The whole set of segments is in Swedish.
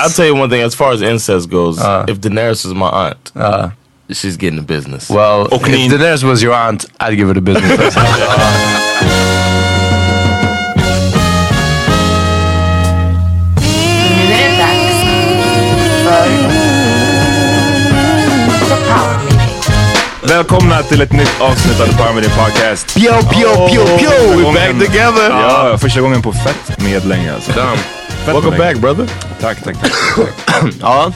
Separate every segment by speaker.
Speaker 1: I'll tell you one thing as far as incest goes,
Speaker 2: Uh.
Speaker 1: if Daenerys is my aunt, she's getting the business.
Speaker 2: Well,
Speaker 3: Och ni-
Speaker 2: if Daenerys was your aunt, I'd give her the business.
Speaker 3: Välkomna till ett nytt avsnitt av The Power Media Podcast.
Speaker 2: Pio, pio, pio, pio! Oh. We're back together!
Speaker 3: Ja, första gången på fett med länge alltså.
Speaker 2: Damn.
Speaker 3: Fett med
Speaker 2: Welcome back Uh,
Speaker 3: länge.
Speaker 2: brother.
Speaker 3: Tack, tack, tack.
Speaker 2: Ja,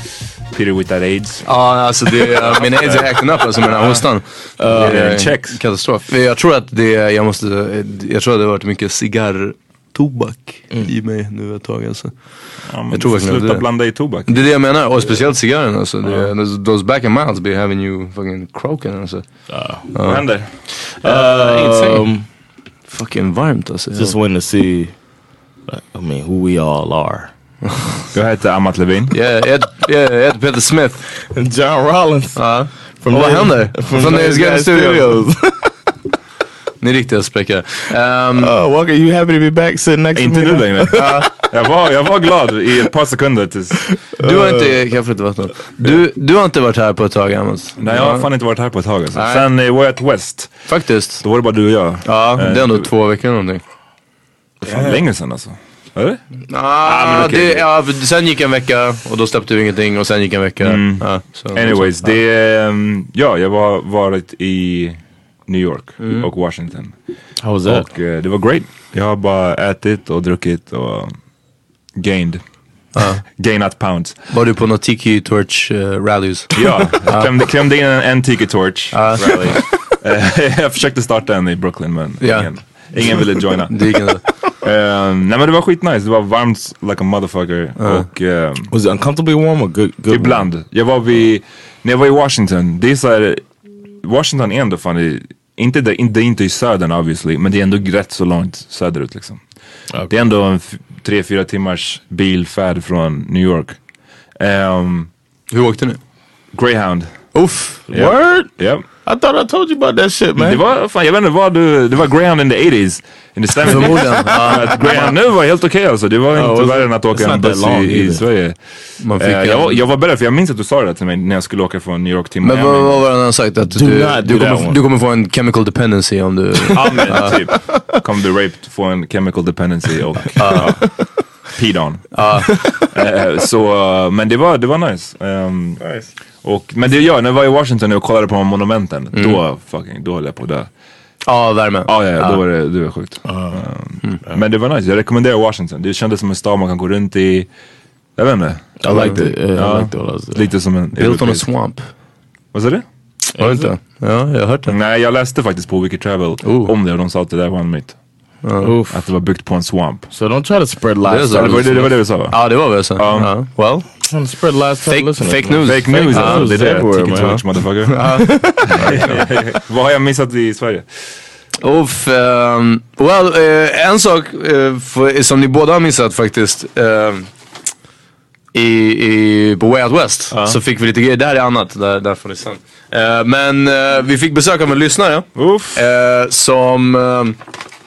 Speaker 3: Peter with that AIDS.
Speaker 2: ja alltså det, eh, min aids är acting up alltså med den här hostan. Eh,
Speaker 3: det checks?
Speaker 2: Katastrof. Men Jag tror att det, jag måste, jag Mm. tror att det har varit mycket cigarrtobak i mig nu ett tag alltså. Jag tror verkligen
Speaker 3: Sluta
Speaker 2: det.
Speaker 3: blanda i tobak.
Speaker 2: Det är det jag menar, och speciellt cigarren alltså. Det, those, those back and mouths be having you fucking croaking alltså. Eh,
Speaker 3: Vad händer?
Speaker 1: Um,
Speaker 2: Fucking varmt alltså.
Speaker 1: just wanting to see, like, I mean, who we all are.
Speaker 3: Jag heter Amat Levin.
Speaker 2: Yeah, Ed, yeah, Ed Peter Smith.
Speaker 1: And John Rollins.
Speaker 2: Ja. Och vad händer? Från, Från Nöjes Garden Studios. Ni är riktiga späckare. Ehm,
Speaker 1: Oh, Walker, you happy to be back sitting next
Speaker 3: Inte
Speaker 1: to me?
Speaker 3: nu längre. jag, var, jag var glad i ett par sekunder tills...
Speaker 2: du har
Speaker 1: Uh,
Speaker 2: inte, kaffet och vattnet. Du, du har inte varit här på ett tag Amos.
Speaker 3: Nej, jag har fan inte varit här på ett tag alltså.
Speaker 2: Nej.
Speaker 3: Sen eh, Way Out West,
Speaker 2: Faktiskt.
Speaker 3: då var det bara du och jag.
Speaker 2: Ja,
Speaker 3: Eh,
Speaker 2: det är ändå två veckor eller någonting.
Speaker 3: Fan, länge sen alltså. Eller?
Speaker 2: Ah,
Speaker 3: men okej.
Speaker 2: det, ja, för sen gick en vecka och då släppte vi ingenting och sen gick en vecka. Ja, så,
Speaker 3: Mm. Anyways, det... ehm, Ja, jag var varit i New York och Washington.
Speaker 1: How was that?
Speaker 3: Och eh, det var great. Jag har bara ätit och druckit och gained. Gainat pounds.
Speaker 2: Var du på något Tiki Torch uh, rallies?
Speaker 3: Ja, jag klämde, klämde in en, en tiki torch. rally. Eh, jag försökte starta en i Brooklyn men
Speaker 2: Ja.
Speaker 3: ingen, ingen ville joina.
Speaker 2: Det gick inte.
Speaker 3: Eh, nej men det var skitnice, det var varmt like a motherfucker. Och, ehm,
Speaker 1: Was it uncomfortably warm or good? good
Speaker 3: Ibland. Jag var vid, när jag var i Washington, det är så här, Washington är ändå fan, i- inte det, det är inte i södern obviously, men det är ändå rätt så långt söderut liksom. Det är ändå en f- tre, fyra timmars bilfärd från New York. Ehm,
Speaker 2: Hur åkte ni?
Speaker 3: Greyhound.
Speaker 1: Oof.
Speaker 3: Ja.
Speaker 1: Word?
Speaker 3: Ja.
Speaker 1: I thought I told you about that shit, man.
Speaker 3: Det var, fan, jag vet inte vad du, det var Greyhound in the 80s. In the 70s.
Speaker 2: Förmodligen. Ja,
Speaker 3: Att Greyhound nu var helt okej alltså, det var inte
Speaker 1: was
Speaker 3: värre
Speaker 1: it-
Speaker 3: än att
Speaker 1: it's
Speaker 3: åka en
Speaker 1: not that
Speaker 3: buss
Speaker 1: long
Speaker 3: i, i
Speaker 1: either.
Speaker 3: Sverige.
Speaker 2: man fick
Speaker 3: Eh, jag, var-
Speaker 2: en...
Speaker 3: jag var beredd, för jag minns att du sa det till mig när jag skulle åka från New York till Miami.
Speaker 2: Men vad, vad var det han hade sagt? Att du,
Speaker 1: Do not
Speaker 2: du,
Speaker 1: do that
Speaker 2: kommer,
Speaker 1: one.
Speaker 2: du kommer få en chemical dependency om du...
Speaker 3: Ja men typ. Kommer bli raped, få en chemical dependency och ja, peed on. Eh, så, eh, men det var, det var nice. Ehm, Och, men det jag, när jag var i Washington och kollade på monumenten, då fucking, då höll jag på att dö.
Speaker 2: Ja, värme.
Speaker 3: Mm. Ja, ja, ja, då var det, det var sjukt. Ehm, Men det var nice, jag rekommenderar Washington. Det kändes som en stad man kan gå runt i. Jag vet inte.
Speaker 1: I liked it. Yeah, I
Speaker 3: Ja,
Speaker 1: liked it when I was there.
Speaker 3: Lite som en...
Speaker 2: Built on a
Speaker 3: europeisk-
Speaker 2: swamp.
Speaker 3: Vad sa du?
Speaker 2: Var det inte? Ja, jag har hört det.
Speaker 3: Nej, jag läste faktiskt på Wiki Travel
Speaker 2: Oh.
Speaker 3: om det och de sa att det där var en myt.
Speaker 1: Oof.
Speaker 3: Att det var byggt på en swamp.
Speaker 1: So don't try to spread
Speaker 2: There's
Speaker 1: lies.
Speaker 2: a-
Speaker 3: Det var det, det, var det du sa va?
Speaker 2: Ja, det var väl så. Ja. Well,
Speaker 1: Trying to spread lies. to the
Speaker 2: fake,
Speaker 1: listeners,
Speaker 2: fake
Speaker 1: man.
Speaker 2: news.
Speaker 3: Fake news
Speaker 1: Fake
Speaker 3: alltså,
Speaker 1: news Ah,
Speaker 3: det är det.
Speaker 1: everywhere,
Speaker 3: Ticket
Speaker 1: man.
Speaker 3: torch motherfucker. Vad har jag missat i Sverige?
Speaker 2: Uff, ehm, well, eh, en sak eh, för, som ni båda har missat faktiskt. ehm, i, i, på Way Out West så fick vi lite grejer. Det här är annat, där, där får ni sen. Eh, men eh, vi fick besök av en lyssnare.
Speaker 3: Uff.
Speaker 2: Eh, som... ehm,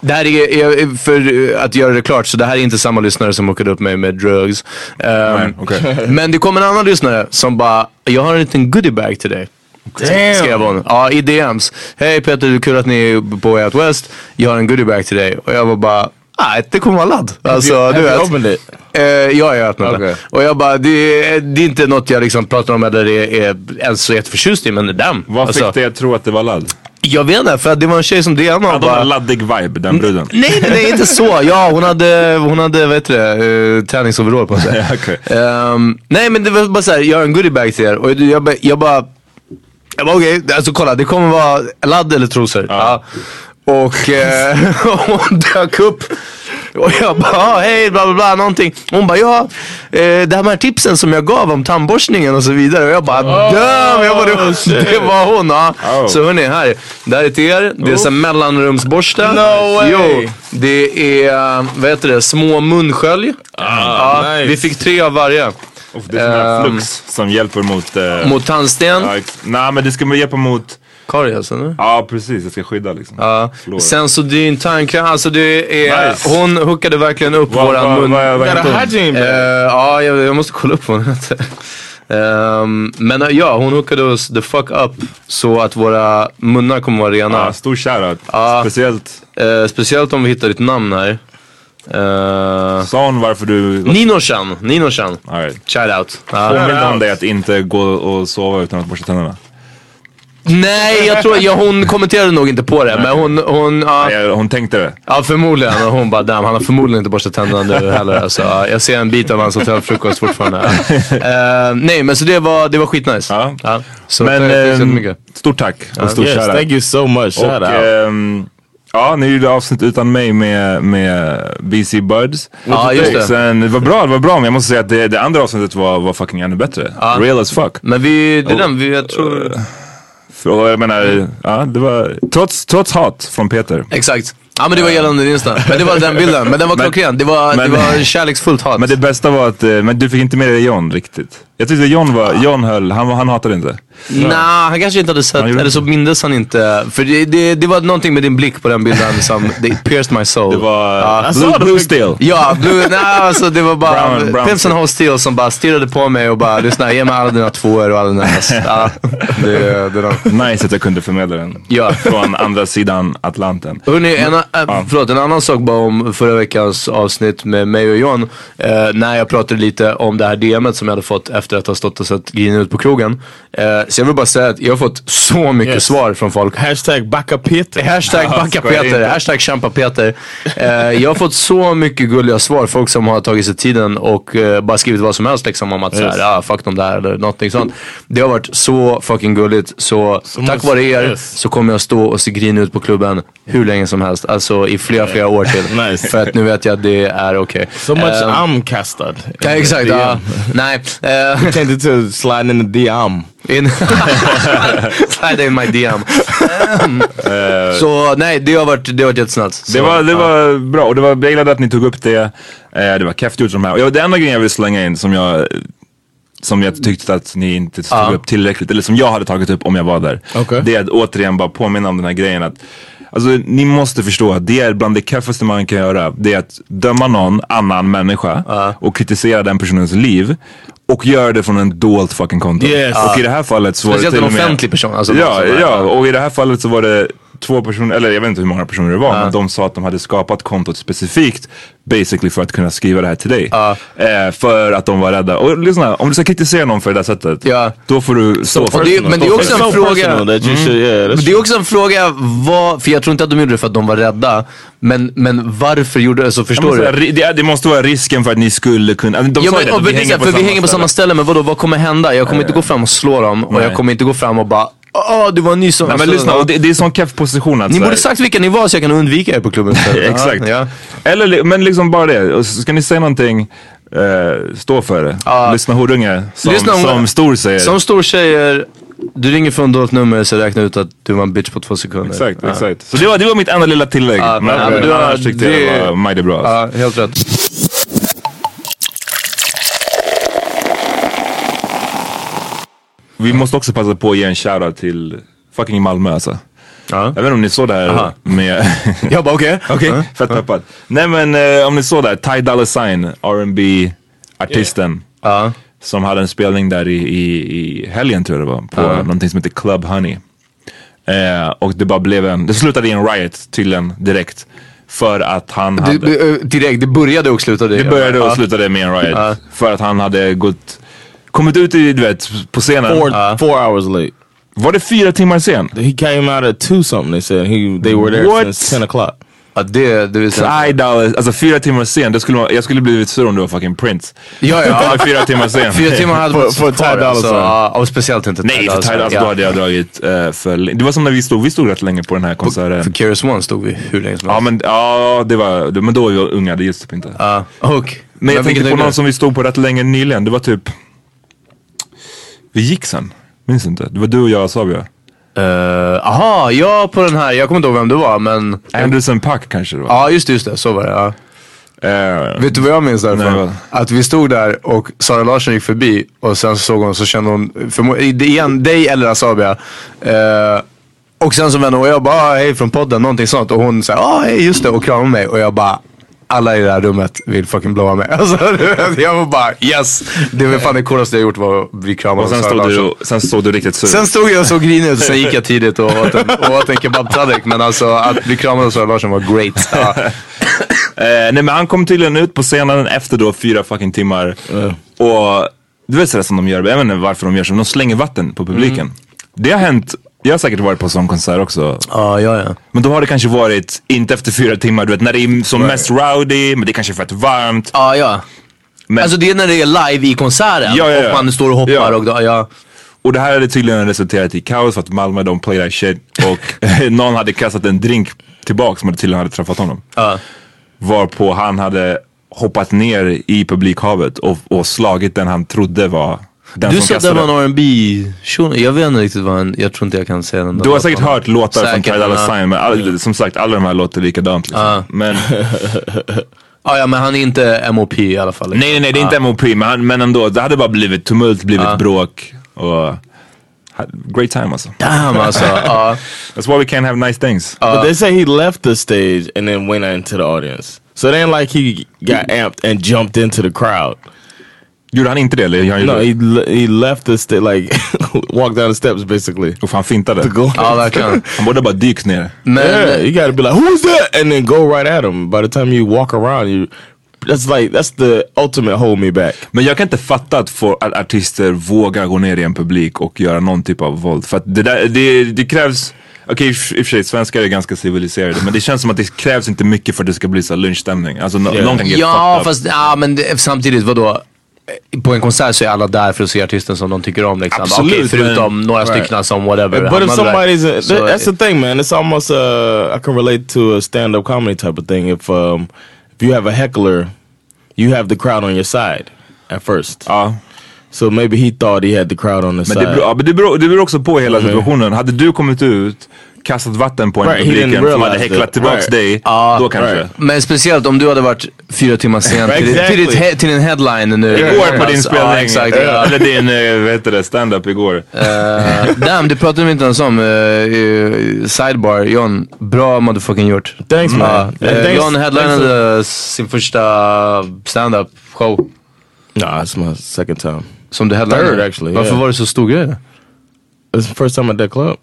Speaker 2: det här är, är, för eh, att göra det klart, så det här är inte samma lyssnare som hookade upp mig med drugs. Ehm,
Speaker 3: Nej, okej.
Speaker 2: Men det kom en annan lyssnare som bara, jag har en liten goodiebag till dig. Skrev hon. Ja, i DMs. Hej Peter, det är kul att ni är på Way Out West. Jag har en goodiebag till dig. Och jag var bara, nej det kommer vara ladd. Alltså,
Speaker 1: you- have
Speaker 2: du
Speaker 1: you
Speaker 2: vet.
Speaker 1: opened it?
Speaker 2: Eh, ja, jag har öppnat
Speaker 1: Okej.
Speaker 2: det. Och jag bara, det är, det är inte något jag liksom pratar om eller är, är ens så jätteförtjust i, men det är dem.
Speaker 3: Vad
Speaker 2: Alltså,
Speaker 3: fick dig att tro att det var ladd?
Speaker 2: Jag vet inte, för att det var en tjej som DMade och
Speaker 3: Hade hon
Speaker 2: bara... Mm.
Speaker 3: en laddig vibe, den bruden?
Speaker 2: Nej, nej, nej, inte så. Ja, hon hade, hon hade vad heter det, eh, träningsoverall på sig.
Speaker 3: Ja, okej.
Speaker 2: Ehm, nej, men det var bara såhär, jag har en goodiebag till er. Och jag, jag, bara- jag bara, jag bara okej, alltså kolla, det kommer vara ladd eller trosor. Ja. Och eh, hon dök upp. Och jag bara, ah, hej, bla bla bla, någonting. Hon bara, ja, eh, det här med tipsen som jag gav om tandborstningen och så vidare. Och jag bara, damn, jag bara, det, var- det var hon. Ja.
Speaker 3: Oh.
Speaker 2: Så hörni, här. Det här är till er. Det är så här mellanrumsborste.
Speaker 1: No way.
Speaker 2: Jo, det är, eh, vad heter det, små munskölj. ja,
Speaker 1: nice.
Speaker 2: Vi fick tre av varje.
Speaker 3: Uff, det är sån här
Speaker 2: Ehm.
Speaker 3: flux som hjälper mot... eh,
Speaker 2: Mot tandsten,
Speaker 3: ja, ex- Nej men det ska man hjälpa mot...
Speaker 2: karies eller?
Speaker 3: Ja precis, det ska skydda liksom.
Speaker 2: Ja.
Speaker 3: Förlåt.
Speaker 2: Sensodyne tandkräm, alltså det är,
Speaker 3: Nice.
Speaker 2: hon hookade verkligen upp
Speaker 3: Vad-
Speaker 2: våran
Speaker 3: vad-
Speaker 2: mun.
Speaker 3: vad- vad
Speaker 1: Got
Speaker 3: hette
Speaker 1: a
Speaker 3: hon?
Speaker 1: hygiene
Speaker 2: Eh,
Speaker 1: bag.
Speaker 2: ja, jag, jag måste kolla upp vad hon heter. Ehm, men eh, ja, hon hookade oss the fuck up så att våra munnar kommer vara rena.
Speaker 3: Ja, stor shoutout.
Speaker 2: Ja.
Speaker 3: Speciellt,
Speaker 2: Eh, speciellt om vi hittar ditt namn här. Uh,
Speaker 3: sa hon varför du...
Speaker 2: Nino-chan, Nino-chan.
Speaker 3: All right.
Speaker 2: Shout out. Mm. Ja.
Speaker 3: Påminde om dig att inte gå och sova utan att borsta tänderna.
Speaker 2: Nej, jag tror, ja, hon kommenterade nog inte på det, men hon, hon, ja,
Speaker 3: Nej, Hon tänkte det.
Speaker 2: ja förmodligen. Och hon bara damn, han har förmodligen inte borstat tänderna nu heller. Alltså, Ja, jag ser en bit av hans hotellfrukost fortfarande. Eh, nej, men så det var, det var skitnice.
Speaker 3: Ja.
Speaker 2: så
Speaker 3: Men
Speaker 2: tack så
Speaker 3: ehm,
Speaker 2: jättemycket.
Speaker 3: stort tack och stor
Speaker 1: Yes,
Speaker 3: shoutout.
Speaker 1: thank you so much. Shout
Speaker 3: och,
Speaker 1: out.
Speaker 2: eh,
Speaker 3: ehm, ja, ni gjorde avsnitt utan mig med, med BC Buds.
Speaker 2: Ja, just
Speaker 3: Och
Speaker 2: det.
Speaker 3: sen, det var bra, det var bra, men jag måste säga att det, det andra avsnittet var, var fucking ännu bättre. Real as fuck.
Speaker 2: Men vi, det är den, vi, jag tror...
Speaker 3: För, och jag menar, ja, det var, trots, trots hat från Peter.
Speaker 2: Exakt. Ja men det var gällande din snö. Men det var den bilden. Men den var
Speaker 3: Men-
Speaker 2: klockren. Det var,
Speaker 3: men-
Speaker 2: det var kärleksfullt hat.
Speaker 3: Men det bästa var att, eh, men du fick inte med dig John riktigt. Jag tyckte John var, John höll, han, han hatade inte.
Speaker 2: Nej, han kanske inte hade sett,
Speaker 3: Han gjorde
Speaker 2: eller så mindes han inte. För det, det, det var någonting med din blick på den bilden som, det pierced my soul.
Speaker 3: Det var
Speaker 2: Ja.
Speaker 3: blue, blue steel.
Speaker 2: Ja, blue, nej, alltså det var bara
Speaker 3: Brown- brown
Speaker 2: Pimps and Hall Steel som bara stirrade på mig och bara lyssna, ge mig alla dina tvåor och alla dina ass. Ja, det, det är de.
Speaker 3: Nice att jag kunde förmedla den.
Speaker 2: Ja.
Speaker 3: Från andra sidan Atlanten.
Speaker 2: Hörrni, en, a- äh, förlåt, en annan sak bara om förra veckans avsnitt med mig och John. Eh, när jag pratade lite om det här DMet som jag hade fått efter att ha stått och sett Green ut på krogen. Eh, så jag vill bara säga att jag har fått så mycket
Speaker 1: Yes.
Speaker 2: svar från folk.
Speaker 1: Hashtag backa Peter.
Speaker 2: Hashtag backa Peter, hashtag kämpa Peter. Eh, jag har fått så mycket gulliga svar. Folk som har tagit sig tiden och eh, bara skrivit vad som helst liksom om att
Speaker 1: Yes.
Speaker 2: såhär, ah, fuck dem där eller någonting sånt. Det har varit så fucking gulligt. Så tack
Speaker 1: måste-
Speaker 2: vare er
Speaker 1: yes.
Speaker 2: så kommer jag stå och se grinig ut på klubben hur länge som helst. Alltså i flera, flera år till.
Speaker 1: Nice.
Speaker 2: För att nu vet jag att det är okej.
Speaker 1: So much
Speaker 2: Eh,
Speaker 1: I'm castad.
Speaker 2: Ja, exakt.
Speaker 1: DM.
Speaker 2: ja. nej. eh,
Speaker 1: Tended to slide in the DM.
Speaker 2: In Slide in my DM. Ehm, så nej, det har varit, det har varit jättesnällt.
Speaker 3: Eh. Det
Speaker 2: Så,
Speaker 3: var, det
Speaker 2: ja.
Speaker 3: var bra och det var, jag gillade att ni tog upp det. Eh, det var kefft gjort som här. Och jag- det enda grejen jag vill slänga in som jag, som jag tyckte att ni inte tog
Speaker 2: Ja.
Speaker 3: upp tillräckligt, eller som jag hade tagit upp om jag var där.
Speaker 1: Okej.
Speaker 3: Det är att återigen bara påminna om den här grejen att Alltså ni måste förstå att det är bland det keffaste man kan göra. Det är att döma någon annan människa och kritisera den personens liv. Och göra det från en dolt fucking konto.
Speaker 1: Yes.
Speaker 3: Och i det här fallet så var det
Speaker 2: Speciellt
Speaker 3: till
Speaker 2: en
Speaker 3: och med-
Speaker 2: offentlig person. Alltså,
Speaker 3: ja,
Speaker 2: någon som-
Speaker 3: ja, och i det här fallet så var det två personer, eller jag vet inte hur många personer det var, men de sa att de hade skapat kontot specifikt basically för att kunna skriva det här till dig. Eh, för att de var rädda. Och lyssna, om du ska kritisera någon för det där sättet,
Speaker 2: Ja.
Speaker 3: då får du stå
Speaker 2: och det-
Speaker 3: personal.
Speaker 2: men det är
Speaker 3: Stå
Speaker 2: också
Speaker 3: för
Speaker 2: en
Speaker 3: det.
Speaker 1: so
Speaker 2: fråga- Mm.
Speaker 1: personal that you should, yeah, that's
Speaker 2: Men det är också en fråga, vad, för jag tror inte att de gjorde det för att de var rädda. Men, men varför gjorde de så?
Speaker 3: Ja,
Speaker 2: Förstår
Speaker 3: men så
Speaker 2: du?
Speaker 3: här, ri- Det, det måste vara risken för att ni skulle kunna... De
Speaker 2: Ja,
Speaker 3: sa ju
Speaker 2: men,
Speaker 3: det,
Speaker 2: och,
Speaker 3: att
Speaker 2: vi hänger, för vi hänger på samma
Speaker 3: ställe.
Speaker 2: ställe, men vadå, vad kommer hända? Jag kommer inte gå fram och slå dem och jag
Speaker 3: Nej.
Speaker 2: kommer inte gå fram och bara Åh, du var ny som...
Speaker 3: Nej men
Speaker 2: alltså,
Speaker 3: lyssna,
Speaker 2: ja.
Speaker 3: och det, det är sån keff position att
Speaker 2: Ni
Speaker 3: så här-
Speaker 2: borde sagt vilka ni var så jag kan undvika er på klubben istället. Ja,
Speaker 3: Exakt.
Speaker 2: Ja.
Speaker 3: Eller, li- men liksom bara det. Och så Ska ni säga någonting, eh, stå för det. Lyssna horunge, som,
Speaker 2: Lyssna, hon-
Speaker 3: som stor säger.
Speaker 2: Som stor säger, du ringer från dolt nummer så jag räknar ut att du var en bitch på två sekunder.
Speaker 3: Exakt, exakt. Så det var, det var mitt enda lilla tillägg.
Speaker 2: Ja,
Speaker 3: men,
Speaker 2: men-
Speaker 3: men
Speaker 2: ja,
Speaker 3: annars tyckte jag det
Speaker 2: det-
Speaker 3: var mighty bra. alltså.
Speaker 2: Ja, helt rätt.
Speaker 3: Vi måste också passa på att ge en shoutout till fucking Malmö alltså.
Speaker 2: Ja.
Speaker 3: Jag vet inte om ni såg det här
Speaker 2: Aha.
Speaker 3: med...
Speaker 2: Jag bara okej.
Speaker 3: Okej, fett peppat. Nej men eh, om ni såg det här, Ty Dolla Sign, rb artisten
Speaker 2: Ja.
Speaker 3: Som hade en spelning där i, i, i helgen tror jag det var, på
Speaker 2: Ja.
Speaker 3: någonting som heter Club Honey. Eh, och det bara blev en, det slutade i en riot tydligen direkt. För att han
Speaker 2: Du,
Speaker 3: hade...
Speaker 2: du, eh, direkt, det började och slutade.
Speaker 3: Det började och
Speaker 2: Ja.
Speaker 3: slutade med en riot.
Speaker 2: Ja.
Speaker 3: För att han hade gått, kommit ut i, du vet, på scenen.
Speaker 1: four, four hours late.
Speaker 3: Var det fyra timmar sen?
Speaker 1: He came out at two something. They said he they were there
Speaker 3: What?
Speaker 1: since ten o'clock.
Speaker 2: Ja, det, det vill säga.
Speaker 3: Nej, Dallas. Alltså fyra timmar sen. Det skulle man, jag skulle blivit sur om det var fucking Prince.
Speaker 2: Ja, ja.
Speaker 3: Eller fyra timmar sen.
Speaker 2: Fyra timmar hade
Speaker 1: För-
Speaker 2: varit
Speaker 1: för
Speaker 2: kvar,
Speaker 1: Ty Dolla
Speaker 2: alltså.
Speaker 1: Sign.
Speaker 2: Ja, och speciellt inte
Speaker 3: Nej, för
Speaker 2: Dolla Sign.
Speaker 3: Tidal, alltså,
Speaker 2: Ja.
Speaker 3: då hade jag dragit eh, för länge. Det var som när vi stod, vi stod rätt länge på den här konserten.
Speaker 2: För Curious One stod vi hur länge som
Speaker 3: Ja,
Speaker 2: helst.
Speaker 3: men, ja det var, det- men då var vi unga, det gills typ inte.
Speaker 2: Ja, och...
Speaker 3: Men jag
Speaker 2: vilket
Speaker 3: tänkte på
Speaker 2: är det?
Speaker 3: någon som vi stod på rätt länge nyligen. Det var typ... Vi gick sen. Minns inte. Det var du och jag och Sabia.
Speaker 2: Eh, Aha, ja på den här, jag kommer inte ihåg vem det var men...
Speaker 3: Anderson Pack kanske det var.
Speaker 2: Ja just det, just det, så var det. Ja.
Speaker 3: Eh,
Speaker 2: Vet du vad jag minns därifrån?
Speaker 3: Nej, vad?
Speaker 2: att vi stod där och Sara Larsson gick förbi och sen såg hon så kände hon, förmo- i- det igen, dig eller Asabia. Eh, och sen så vände hon och jag bara, ah, hej från podden, någonting sånt. Och hon sa, ah, hej just det och kramade mig och jag bara, alla i det här rummet vill fucking blåa mig. Alltså, du vet, jag var bara yes! Det var fan det coolaste jag gjort var att bli kramad
Speaker 3: och sen
Speaker 2: av Sara
Speaker 3: stod, du,
Speaker 2: Larsson.
Speaker 3: och- sen stod du riktigt sur.
Speaker 2: Sen stod jag och såg grinig ut och sen gick jag tidigt och åt en, och åt en kebabtallrik. Men alltså att bli kramad av Sara Larsson var great. Ja.
Speaker 3: Eh, nej men han kom tydligen ut på scenen efter då fyra fucking timmar. Och du vet sådär som de gör, jag vet inte varför de gör så, men de slänger vatten på publiken.
Speaker 2: Mm.
Speaker 3: Det har hänt, jag har säkert varit på sån konsert också.
Speaker 2: Ja, ja, ja.
Speaker 3: Men då har det kanske varit, inte efter fyra timmar, du vet när det är som mest rowdy, men det är kanske är för att varmt.
Speaker 2: Ja, ja.
Speaker 3: Men,
Speaker 2: Alltså det är när det är live i konserten
Speaker 3: Ja, ja, ja.
Speaker 2: och man står och hoppar
Speaker 3: Ja.
Speaker 2: och då, ja.
Speaker 3: och det här hade tydligen resulterat i kaos för att Malmö de play that shit och någon hade kastat en drink tillbaks som tydligen hade träffat honom.
Speaker 2: Ja.
Speaker 3: Varpå han hade hoppat ner i publikhavet och, och slagit den han trodde var den
Speaker 2: Du
Speaker 3: som
Speaker 2: sa att det
Speaker 3: kastade.
Speaker 2: var en R&B shuno jag vet inte riktigt vad han, jag tror inte jag kan säga den där
Speaker 3: Du har
Speaker 2: låten.
Speaker 3: säkert hört låtar
Speaker 2: Säkert,
Speaker 3: från Ty Dolla
Speaker 2: ja.
Speaker 3: Sign, men all, som sagt alla de här låter likadant. Liksom. Men, nej,
Speaker 2: Ja, ja men han är inte MOP i alla fall. liksom.
Speaker 3: nej, nej, det är inte MOP, men, han- men ändå. Det hade bara blivit tumult, blivit bråk. Och, great time alltså.
Speaker 2: Damn alltså. Ja.
Speaker 3: That's why we can't have nice things.
Speaker 1: but they say he left the stage and then went out into the audience. So it ain't like he got amped and jumped into the crowd.
Speaker 3: Gjorde han inte det? Eller han gjorde
Speaker 1: No,
Speaker 3: det?
Speaker 1: he le- he left the stage like walked down the steps basically.
Speaker 3: Och fan fintade.
Speaker 1: Go-
Speaker 2: ja, verkligen.
Speaker 3: Han borde bara dykt ner.
Speaker 2: Men,
Speaker 1: yeah, you gotta be like, who's that? And then go right at him. By the time you walk around, you that's like that's the ultimate hold me back.
Speaker 3: Men jag kan inte fatta att, få, att artister vågar gå ner i en publik och göra någon typ av våld. För att det, där, det, det krävs, okej i och för i och för sig svenskar är ganska civiliserade men det känns som att det krävs inte mycket för att det ska bli så här lynchstämning. Alltså no,
Speaker 1: Yeah.
Speaker 3: någon kan get
Speaker 2: Ja,
Speaker 3: fucked up.
Speaker 2: fast ja, men det, samtidigt vadå? På en konsert så är alla där för att se artisten som de tycker om. Liksom.
Speaker 3: Absolut,
Speaker 2: Okej, förutom
Speaker 3: men-
Speaker 2: några
Speaker 3: right.
Speaker 2: stycken som whatever.
Speaker 1: But if
Speaker 2: hamnade där.
Speaker 1: somebody's a,
Speaker 2: Så-
Speaker 1: that's the thing, man. It's almost uh, I can relate to a stand-up comedy type of thing. If um, if you have a heckler, you have the crowd on your side at first.
Speaker 2: Ah.
Speaker 3: Ja.
Speaker 1: So maybe he thought he had the crowd on his
Speaker 3: Men det,
Speaker 1: side.
Speaker 3: beror, ja, men det, beror, det beror också på hela
Speaker 1: Mm.
Speaker 3: situationen. Hade du kommit ut, kastat vatten på en
Speaker 1: Right, he
Speaker 3: publiken
Speaker 1: didn't
Speaker 3: som hade
Speaker 1: realize
Speaker 3: häcklat
Speaker 1: it.
Speaker 3: tillbaks
Speaker 1: Right. Ah,
Speaker 3: dig, då kanske.
Speaker 1: right.
Speaker 2: Men speciellt om du hade varit fyra timmar sen till,
Speaker 1: Exactly.
Speaker 2: till, ditt he- till en headline nu.
Speaker 3: Igår på din
Speaker 2: Alltså,
Speaker 3: spelning,
Speaker 2: Ja, exakt.
Speaker 3: eh,
Speaker 2: Ja.
Speaker 3: eller din, eh, vad heter det, stand-up igår.
Speaker 2: Eh, Damn, det pratade vi inte ens om. eh, eh, sidebar, John. Bra motherfucking gjort.
Speaker 1: Thanks, man.
Speaker 2: Ja,
Speaker 1: Yeah,
Speaker 2: eh,
Speaker 1: thanks-
Speaker 2: John headlinade sin första stand-up show.
Speaker 1: nah, it's my second time.
Speaker 2: Som du headlinade.
Speaker 1: Third, actually,
Speaker 2: Varför
Speaker 1: yeah.
Speaker 2: var det så stor grej?
Speaker 1: It's the first time at that club.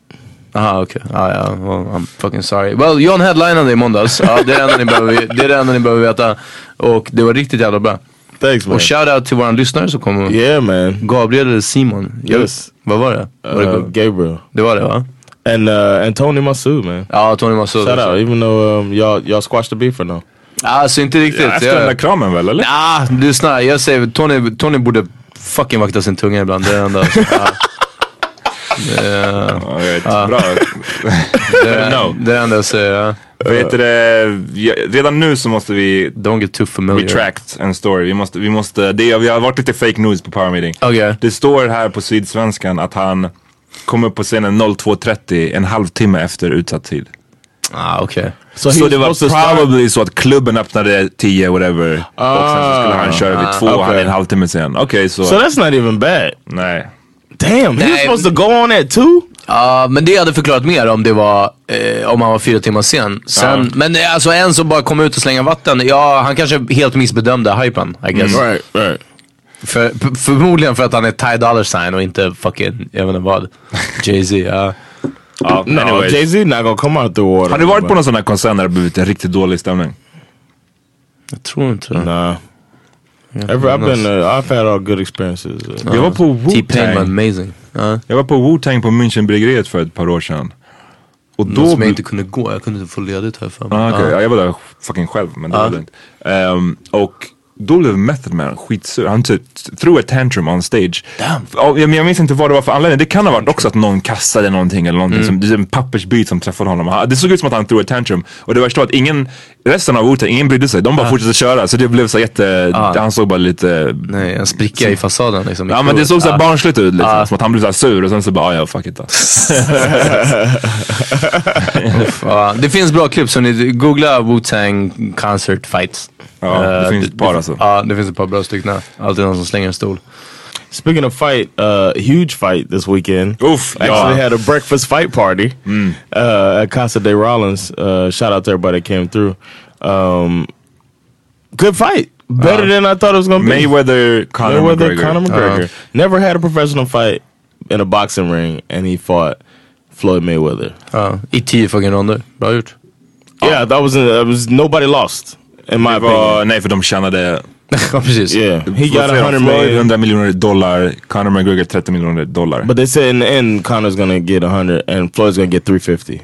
Speaker 2: Aha, okej. Ah, ja, well, I'm fucking sorry. Well, John headlinade i måndags. Ja, det, är det, enda ni behöver, det är det enda ni behöver veta. Och det var riktigt jävla bra.
Speaker 1: Thanks, man.
Speaker 2: Och shoutout till våran lyssnare som kom.
Speaker 1: yeah, man.
Speaker 2: Gabriel eller Simon? Jag-
Speaker 1: Yes.
Speaker 2: Vad var det? Var
Speaker 1: Uh,
Speaker 2: det,
Speaker 1: Gabriel
Speaker 2: det var det va?
Speaker 1: and uh, and Tony Masu, man.
Speaker 2: Ja, Tony Massoud.
Speaker 1: Shout out, even though um, y'all y'all squashed the beef for now.
Speaker 2: Alltså inte riktigt.
Speaker 3: Efter den där kramen väl, eller?
Speaker 2: Ah, lyssna. Jag säger Tony, Tony borde fucking vakta sin tunga ibland. Det är det enda. Ja,
Speaker 3: Ja, jag vet. Bra.
Speaker 2: det, är,
Speaker 3: No.
Speaker 2: det är det enda jag säger. ja.
Speaker 3: Vet du, det, jag- redan nu så måste vi
Speaker 2: Don't get too
Speaker 1: Oh,
Speaker 2: familiar.
Speaker 3: retract en story. Vi måste, vi måste, det, vi har varit lite fake news på Power Meeting.
Speaker 2: Okej.
Speaker 3: Det står här på Sydsvenskan att han kom upp på scenen 02.30 en halvtimme efter utsatt tid.
Speaker 2: Ah, okej.
Speaker 1: So he
Speaker 3: så
Speaker 1: was
Speaker 3: det var
Speaker 1: supposed to start-
Speaker 3: probably så att klubben öppnade 10 whatever. och sen så skulle han köra vid två och han är
Speaker 1: okay.
Speaker 3: en halvtimme sen. Okej Ah, så,
Speaker 1: So that's not even bad.
Speaker 3: nej.
Speaker 1: Damn, he was
Speaker 2: Nah,
Speaker 1: supposed to go on that too.
Speaker 2: Ja, Ah, men det hade förklarat mer om det var eh, om han var fyra timmar sen. sen
Speaker 1: Ah.
Speaker 3: Ja.
Speaker 2: Men eh, alltså en som bara kom ut och slänga vatten, ja han kanske helt missbedömde hypen I guess.
Speaker 1: Mm. Right, right.
Speaker 2: För, p- förmodligen för att han är Ty Dollar Sign och inte fucking, jag vet inte vad, Jay-Z. ja.
Speaker 3: Ja,
Speaker 1: No,
Speaker 3: anyways.
Speaker 1: Jay Z not gonna come out the water.
Speaker 3: Har du varit på någon sån här konsert där det blivit en riktigt dålig stämning?
Speaker 2: Jag tror inte det.
Speaker 1: Nah. Ever, I've been. Uh, I've had all good experiences. Uh,
Speaker 3: Jag var på
Speaker 2: T-Pain var
Speaker 3: Wu-Tang.
Speaker 2: Typ amazing. Ja.
Speaker 3: Jag var på Wu-Tang på Münchenbryggeriet för ett par år sedan. Och
Speaker 2: Något
Speaker 3: då...
Speaker 2: som jag inte kunde gå, jag kunde inte få ledigt här för mig.
Speaker 3: Ah, okej.
Speaker 2: Ja.
Speaker 3: ja, jag var där fucking själv men det var lugnt. Ehm, och då blev Method Man skitsur. Han typ threw a tantrum on stage.
Speaker 2: Damn.
Speaker 3: Ja, men jag minns inte vad det var för anledning. Det kan ha varit också att någon kastade någonting eller
Speaker 1: Mm.
Speaker 3: någonting. Som, det är en pappersbit som träffade honom. Han- Det såg ut som att han threw a tantrum. Och det värsta var att ingen, resten av orten, ingen brydde sig. De bara fortsatte köra. Så det blev så jätte, han såg bara lite...
Speaker 2: Nej, en spricka i fasaden liksom. i
Speaker 3: Ja men det
Speaker 2: crewet.
Speaker 3: såg såhär
Speaker 2: Ja.
Speaker 3: barnsligt ut liksom.
Speaker 2: Ah.
Speaker 3: Som att han blev såhär sur och sen så bara, "Ah, ja fuck it alltså.
Speaker 2: Ja, det finns bra klipp så ni googla Wu-Tang concert fights.
Speaker 3: Ja, det
Speaker 2: Eh,
Speaker 3: finns ett par alltså.
Speaker 2: Ja, det finns ett par bra stycken. Alltid någon som slänger en stol.
Speaker 1: Speaking of fight, uh, huge fight this weekend.
Speaker 3: Oof,
Speaker 1: Actually
Speaker 3: yeah.
Speaker 1: had a breakfast fight party uh, at Casa de Rollins. Uh, shout out to everybody that came through. Um, good fight. Better than I thought it was gonna be.
Speaker 3: Mayweather, Conor
Speaker 1: Mayweather,
Speaker 3: McGregor.
Speaker 1: Conor McGregor. Uh-huh. Never had a professional fight in a boxing ring, and he fought Floyd Mayweather.
Speaker 2: Ja, Uh, I tio fucking ronder. Bra gjort.
Speaker 1: Yeah, that was uh, that was nobody lost in my
Speaker 3: Det
Speaker 1: opinion.
Speaker 3: var, nej för de tjänade
Speaker 2: ja, precis.
Speaker 1: Yeah, he
Speaker 3: Floyd
Speaker 1: got 100 million,
Speaker 3: 100 miljoner dollar, Conor McGregor 30 miljoner dollar.
Speaker 1: but they said in the end Connor's gonna get 100 and Floyd's gonna get 350.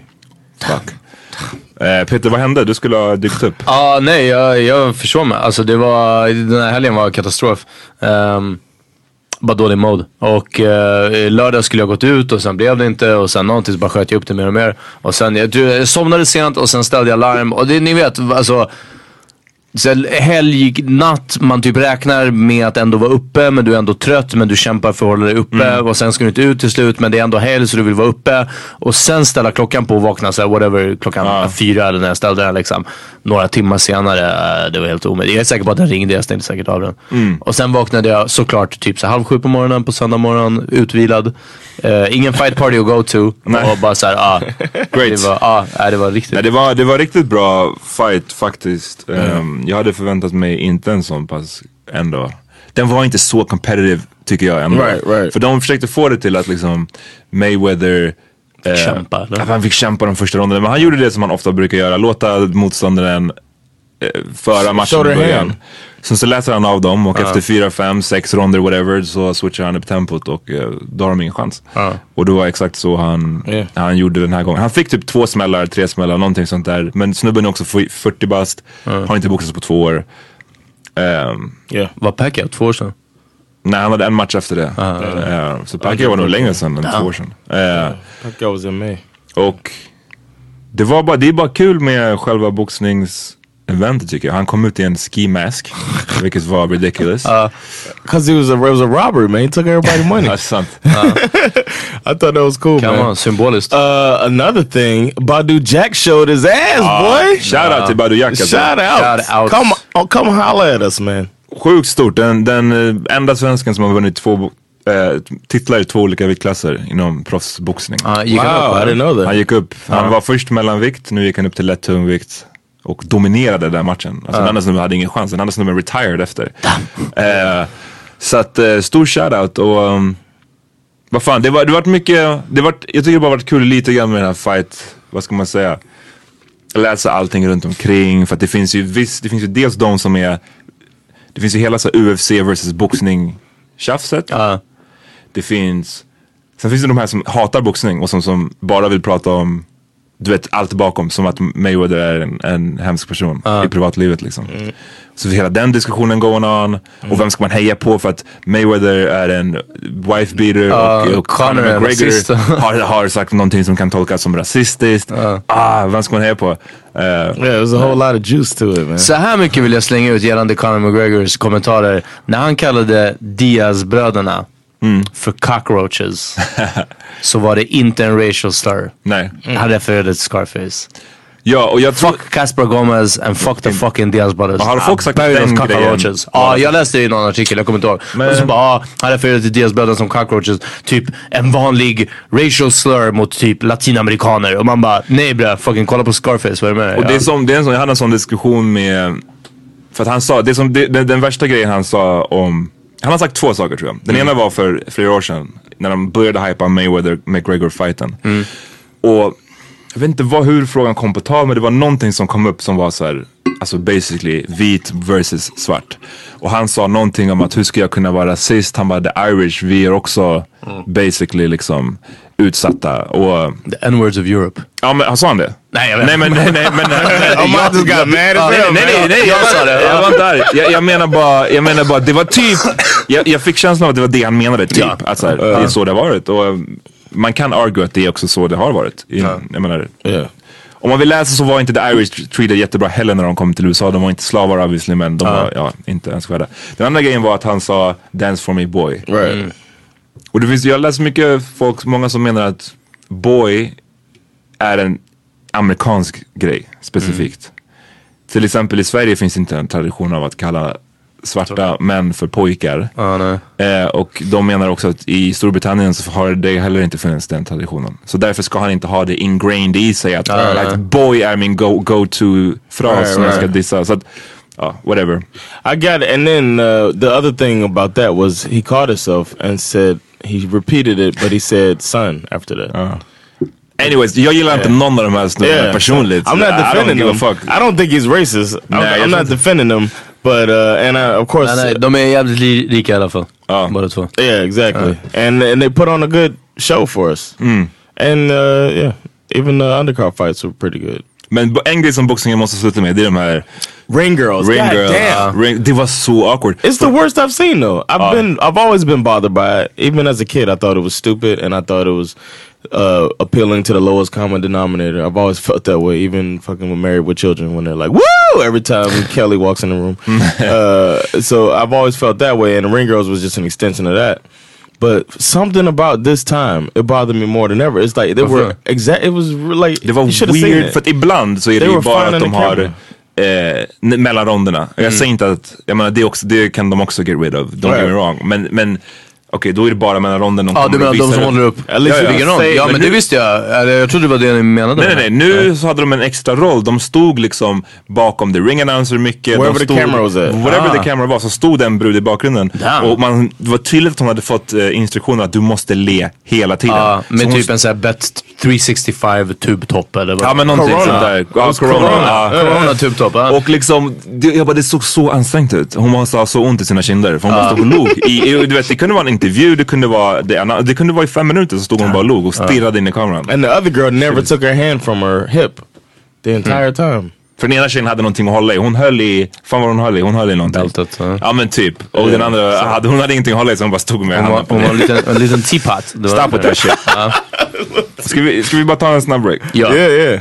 Speaker 3: Fuck. Eh, Peter, vad hände? Du skulle ha dykt upp.
Speaker 2: Ja, nej, jag, jag förstår mig. Alltså det var, den här helgen var katastrof. Um, bara dålig mode. Och eh, lördag skulle jag gått ut och sen blev det inte och sen någonting så bara sköt jag upp det mer och mer. Och sen, jag, tror jag somnade sent och sen ställde jag larm. Och det, ni vet, alltså. Så helg, natt, man typ räknar med att ändå vara uppe men du är ändå trött men du kämpar för att hålla dig uppe
Speaker 3: Mm.
Speaker 2: och sen ska du inte ut till slut men det är ändå helg så du vill vara uppe och sen ställa klockan på och vakna såhär whatever klockan fyra eller när jag ställde den liksom. Några timmar senare, eh, det var helt omöjligt. Jag är säker på att den ringde, jag stängde säkert av den.
Speaker 3: Mm.
Speaker 2: Och sen vaknade jag såklart typ så halv sju på morgonen på söndag morgon, utvilad. Eh, ingen fight party att go to.
Speaker 3: Nej.
Speaker 2: Och bara såhär, ah.
Speaker 3: Great.
Speaker 2: Det var, ah, nej, det var riktigt.
Speaker 3: Nej, det, var, det var riktigt bra fight faktiskt. Ehm, jag hade förväntat mig inte en sån pass ändå. Den var inte så competitive tycker jag ändå.
Speaker 1: Right, right.
Speaker 3: För de försökte få det till att liksom Mayweather eh,
Speaker 2: Kämpa, eller?
Speaker 3: att han fick kämpa de första ronderna. Men han gjorde det som han ofta brukar göra. Låta motståndaren eh, föra matchen
Speaker 1: Körde
Speaker 3: i början.
Speaker 1: hem.
Speaker 3: Sen så läser han av dem och efter fyra, fem, sex ronder whatever så switchar han upp tempot och eh, då har de ingen chans.
Speaker 1: Ja.
Speaker 3: Och det var exakt så han,
Speaker 1: Ja.
Speaker 3: han gjorde den här gången. Han fick typ två smällar, tre smällar, någonting sånt där. Men snubben är också f- 40 bast, har inte boxats på två år. Ehm,
Speaker 1: Yeah.
Speaker 2: Var Pacquiao två år sedan?
Speaker 3: nej, han hade en match efter det. Ehm, så Pacquiao var nog längre sedan än två år sedan. Ehm,
Speaker 1: Pacquiao was in May.
Speaker 3: Och det var bara, det är bara kul med själva boxningseventet tycker jag. Han kom ut i en ski mask, vilket var ridiculous.
Speaker 1: Cause it was a it was a robbery, man. He took everybody's money.
Speaker 3: Ja, sant.
Speaker 1: I thought that was cool,
Speaker 2: Kan
Speaker 1: man.
Speaker 2: vara symboliskt.
Speaker 1: Uh, another thing, Badu Jack showed his ass, boy.
Speaker 3: Ah, Shout out till Badu Jack. alltså.
Speaker 1: Shout out.
Speaker 2: Shout out.
Speaker 1: Come oh, come holla at us, man.
Speaker 3: Sjukt stort. Den, den eh, enda svensken som har vunnit två bo- eh, titlar i två olika viktklasser inom proffsboxning.
Speaker 2: Ja, gick han
Speaker 1: Wow,
Speaker 2: upp,
Speaker 1: I
Speaker 2: eller?
Speaker 1: didn't know
Speaker 3: Han
Speaker 1: that.
Speaker 3: gick upp, han var först mellanvikt, nu gick han upp till lätt tungvikt och dominerade den matchen. Alltså den andra snubben hade ingen chans, den andra snubben retired efter. Eh, så att, eh, stor shoutout och um, vad fan, det var, det vart mycket, det vart, jag tycker det bara varit kul lite grann med den här fight, vad ska man säga? Läsa allting runt omkring för att det finns ju viss, det finns ju dels de som är, det finns ju hela så här UFC versus boxning tjafset.
Speaker 2: Ja.
Speaker 3: Det finns, sen finns det de här som hatar boxning och som, som bara vill prata om du vet allt bakom som att Mayweather är en, en hemsk person i privatlivet liksom.
Speaker 2: Mm.
Speaker 3: Så hela den diskussionen going on och vem ska man heja på för att Mayweather är en wife beater och, och
Speaker 2: Conor
Speaker 3: Conor
Speaker 2: är rasist.
Speaker 3: McGregor har, har sagt någonting som kan tolkas som rasistiskt. Ah, vem ska man heja på? Eh,
Speaker 1: Yeah, there's a whole lot of juice to it, man.
Speaker 2: Så här mycket vill jag slänga ut gällande Conor McGregors kommentarer. När han kallade Diaz-bröderna
Speaker 3: Mm.
Speaker 2: för cockroaches så var det inte en racial slur.
Speaker 3: nej.
Speaker 2: Han refererade till Scarface.
Speaker 3: Ja, och jag tror...
Speaker 2: Fuck Casper Gomez and fuck the fucking Diaz brothers.
Speaker 3: Men har folk sagt
Speaker 2: Bury
Speaker 3: den
Speaker 2: those
Speaker 3: grejen?
Speaker 2: cockroaches. Ah, Ja, jag läste det i någon artikel, jag kommer inte ihåg.
Speaker 3: Men-
Speaker 2: Men... Så bara, ah, han refererade till Diaz brothers som cockroaches. Typ en vanlig racial slur mot Oh, typ latinamerikaner. Och man bara, nej bre, fucking kolla på Scarface, vad är det med dig?
Speaker 3: Och det är
Speaker 2: Ja.
Speaker 3: som, det är en sån, jag hade en sån diskussion med, för att han sa, det är som, det, den, den värsta grejen han sa om, han har sagt två saker tror jag. Den
Speaker 2: Mm.
Speaker 3: ena var för flera år sedan, när de började hypa Mayweather-McGregor-fighten.
Speaker 2: Mm.
Speaker 3: Och jag vet inte vad, hur frågan kom på tal, men det var någonting som kom upp som var så här, alltså basically vit versus svart. Och han sa någonting om att hur ska jag kunna vara rasist? Han bara, the Irish, vi är också
Speaker 2: Mm.
Speaker 3: basically liksom utsatta. Och,
Speaker 2: The N-words of Europe.
Speaker 3: ja men sa han det?
Speaker 2: Nej, jag vet
Speaker 3: Nej men nej nej men jag just got mad as hell. Nej nej nej jag sa det. Jag var inte arg. Jag, jag menar bara, jag menar bara det var typ, jag, jag fick känslan av att det var det han menade typ.
Speaker 2: Ja.
Speaker 3: Att så här, det är så det har varit. Och um, man kan argue att det är också så det har varit. I, Jag menar,
Speaker 1: Yeah.
Speaker 3: om man vill läsa så var inte the Irish treated jättebra heller när de kom till USA. De var inte slavar obviously men de var ja, inte önskvärda. Den andra grejen var att han sa dance for me boy.
Speaker 1: Right.
Speaker 2: Mm,
Speaker 3: Och det finns, jag har läst mycket folk, många som menar att boy är en amerikansk grej specifikt.
Speaker 1: Mm.
Speaker 3: Till exempel i Sverige finns inte en tradition av att kalla svarta män för pojkar.
Speaker 2: Ja, nej.
Speaker 3: Eh, och de menar också att i Storbritannien så har det heller inte funnits den traditionen. Så därför ska han inte ha det ingrained i sig att like, boy är min go- go-to-fras
Speaker 1: Right,
Speaker 3: som jag ska
Speaker 1: right.
Speaker 3: dissa. Så att, ja, whatever.
Speaker 1: I got it. And then uh, the other thing about that was he caught himself and said he repeated it, but he said son after that.
Speaker 2: Ah.
Speaker 3: Anyways, jag gillar inte någon av de här snubbarna
Speaker 1: Yeah.
Speaker 3: personligt.
Speaker 1: I'm not
Speaker 3: I don't
Speaker 1: defending
Speaker 3: give a
Speaker 1: him.
Speaker 3: fuck.
Speaker 1: I don't think he's racist.
Speaker 3: Nah,
Speaker 1: I'm,
Speaker 3: jag
Speaker 1: I'm
Speaker 3: tror
Speaker 1: not
Speaker 3: inte-
Speaker 1: defending him, but uh, and I, of course, Oh.
Speaker 2: Nej, nej, de är jävligt li- lika i alla fall. Båda två.
Speaker 1: yeah, exactly. and and they put on a good show for us.
Speaker 3: Hmm.
Speaker 1: And uh, yeah, even the undercard fights were pretty good.
Speaker 3: Men bo- en grej som boxningen måste sluta med det är de här
Speaker 1: Ring girls,
Speaker 2: Alltså,
Speaker 3: ring
Speaker 1: God
Speaker 3: girls.
Speaker 1: damn.
Speaker 3: Ring, det var så awkward.
Speaker 1: It's the worst I've seen though. I've been I've always been bothered by it. Even as a kid, I thought it was stupid and I thought it was uh, appealing to the lowest common denominator. I've always felt that way, even fucking with married with children when they're like, Woo every time Kelly walks in the room. uh, so I've always felt that way and the Ring Girls was just an extension of that. But something about this time, it bothered me more than ever. It's like they were exact it was re- like
Speaker 3: Det var
Speaker 1: you should have seen
Speaker 3: weird,
Speaker 1: it.
Speaker 3: för att ibland så är det
Speaker 1: They
Speaker 3: ju
Speaker 1: were
Speaker 3: bara
Speaker 1: fine
Speaker 3: att de
Speaker 1: on the
Speaker 3: har
Speaker 1: camera.
Speaker 3: eh, n- mellan ronderna. Jag säger inte att, jag menar det, är också, det kan de också get rid of, don't get me
Speaker 1: Right.
Speaker 3: wrong. Men, men
Speaker 4: då är det bara mellan ronden de
Speaker 2: Ja,
Speaker 4: kommer
Speaker 2: du
Speaker 4: och
Speaker 2: menar de
Speaker 4: visar
Speaker 2: som
Speaker 4: det.
Speaker 2: håller upp?
Speaker 4: Ja, ja,
Speaker 2: Vilken roll?
Speaker 4: säg-
Speaker 2: Ja, men det
Speaker 4: nu-
Speaker 2: visste jag. Eller, Jag trodde det var det ni menade.
Speaker 4: Nej, nej, nej. Nu så hade de en extra roll. De stod liksom bakom the ring announcer mycket.
Speaker 1: Wherever
Speaker 4: de
Speaker 1: the
Speaker 4: stod,
Speaker 1: camera was at.
Speaker 4: Wherever
Speaker 2: Ah.
Speaker 4: the camera var så stod den brud i bakgrunden.
Speaker 2: Damn.
Speaker 4: Och man, det var tydligt att hon hade fått eh, instruktioner att du måste le hela tiden.
Speaker 2: Ja,
Speaker 4: Så
Speaker 2: med
Speaker 4: hon-
Speaker 2: typ en sån här bet 365 tubtopp eller vad
Speaker 4: Ja men någonting
Speaker 2: Corona.
Speaker 4: sånt där. Ja,
Speaker 2: Ja, corona.
Speaker 4: Ja.
Speaker 2: Corona tubtopp. Ja.
Speaker 4: Och liksom, det, jag bara, det såg så ansträngt ut. Hon måste ha så ont i sina kinder för hon
Speaker 2: Ah.
Speaker 4: bara stod och log. I, i, du vet, det kunde vara en intervju, det kunde vara, det, anna- det kunde vara i fem minuter så stod hon bara och log och stirrade in i kameran.
Speaker 1: And the other girl never took her hand from her hip the
Speaker 4: Mm.
Speaker 1: entire time.
Speaker 4: För den ena tjejen hade någonting att hålla i. Hon höll i, fan vad hon höll i, hon höll i någonting.
Speaker 2: Bältet, ja.
Speaker 4: Ja men typ. Och den andra, hade, hon hade ingenting att hålla i så hon bara stod med
Speaker 2: Hon var,
Speaker 4: handen på
Speaker 2: hon var en,
Speaker 4: det.
Speaker 2: liten, en liten teapot. Det var-
Speaker 4: Stop with that shit. Ska vi, ska vi bara ta en snabb break?
Speaker 2: Ja.
Speaker 1: Yeah, yeah.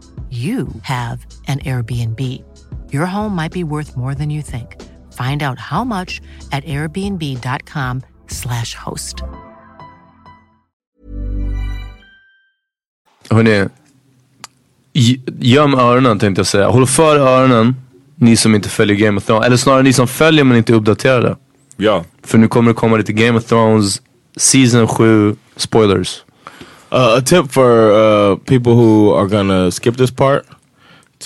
Speaker 5: you have an Airbnb. Your home might be worth more than you think. Find out how much at airbnb.com/slash host.
Speaker 2: Hörni, gö- göm öronen tänkte jag säga. Håll för öronen, ni som inte följer Game of Thrones. Eller snarare ni som följer men inte är uppdaterade.
Speaker 4: Ja.
Speaker 2: För nu kommer det komma lite Game of Thrones Season 7 spoilers.
Speaker 1: Uh, a tip for uh, people who are gonna skip this part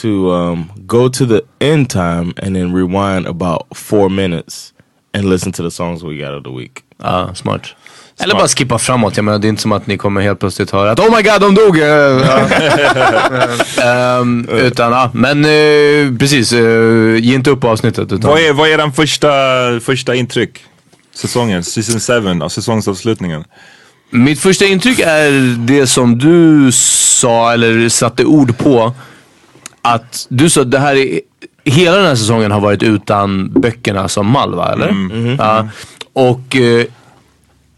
Speaker 1: to um, go to the end time and then rewind about four minutes and listen to the songs we got of the week.
Speaker 2: Ja, Ah, smart. Eller bara skippa framåt. Jag menar det är inte som att ni kommer helt plötsligt höra att Oh my god, de dog! Eh, ja. Ehm, utan ja, men eh, precis. eh, ge inte upp avsnittet. Utan,
Speaker 4: Vad är, vad är den första, första intryck? Säsongen, season 7, av säsongsavslutningen.
Speaker 2: Mitt första intryck är det som du sa, eller satte ord på. Att du sa att det här är, hela den här säsongen har varit utan böckerna som mall va? Eller? Ja. Och eh,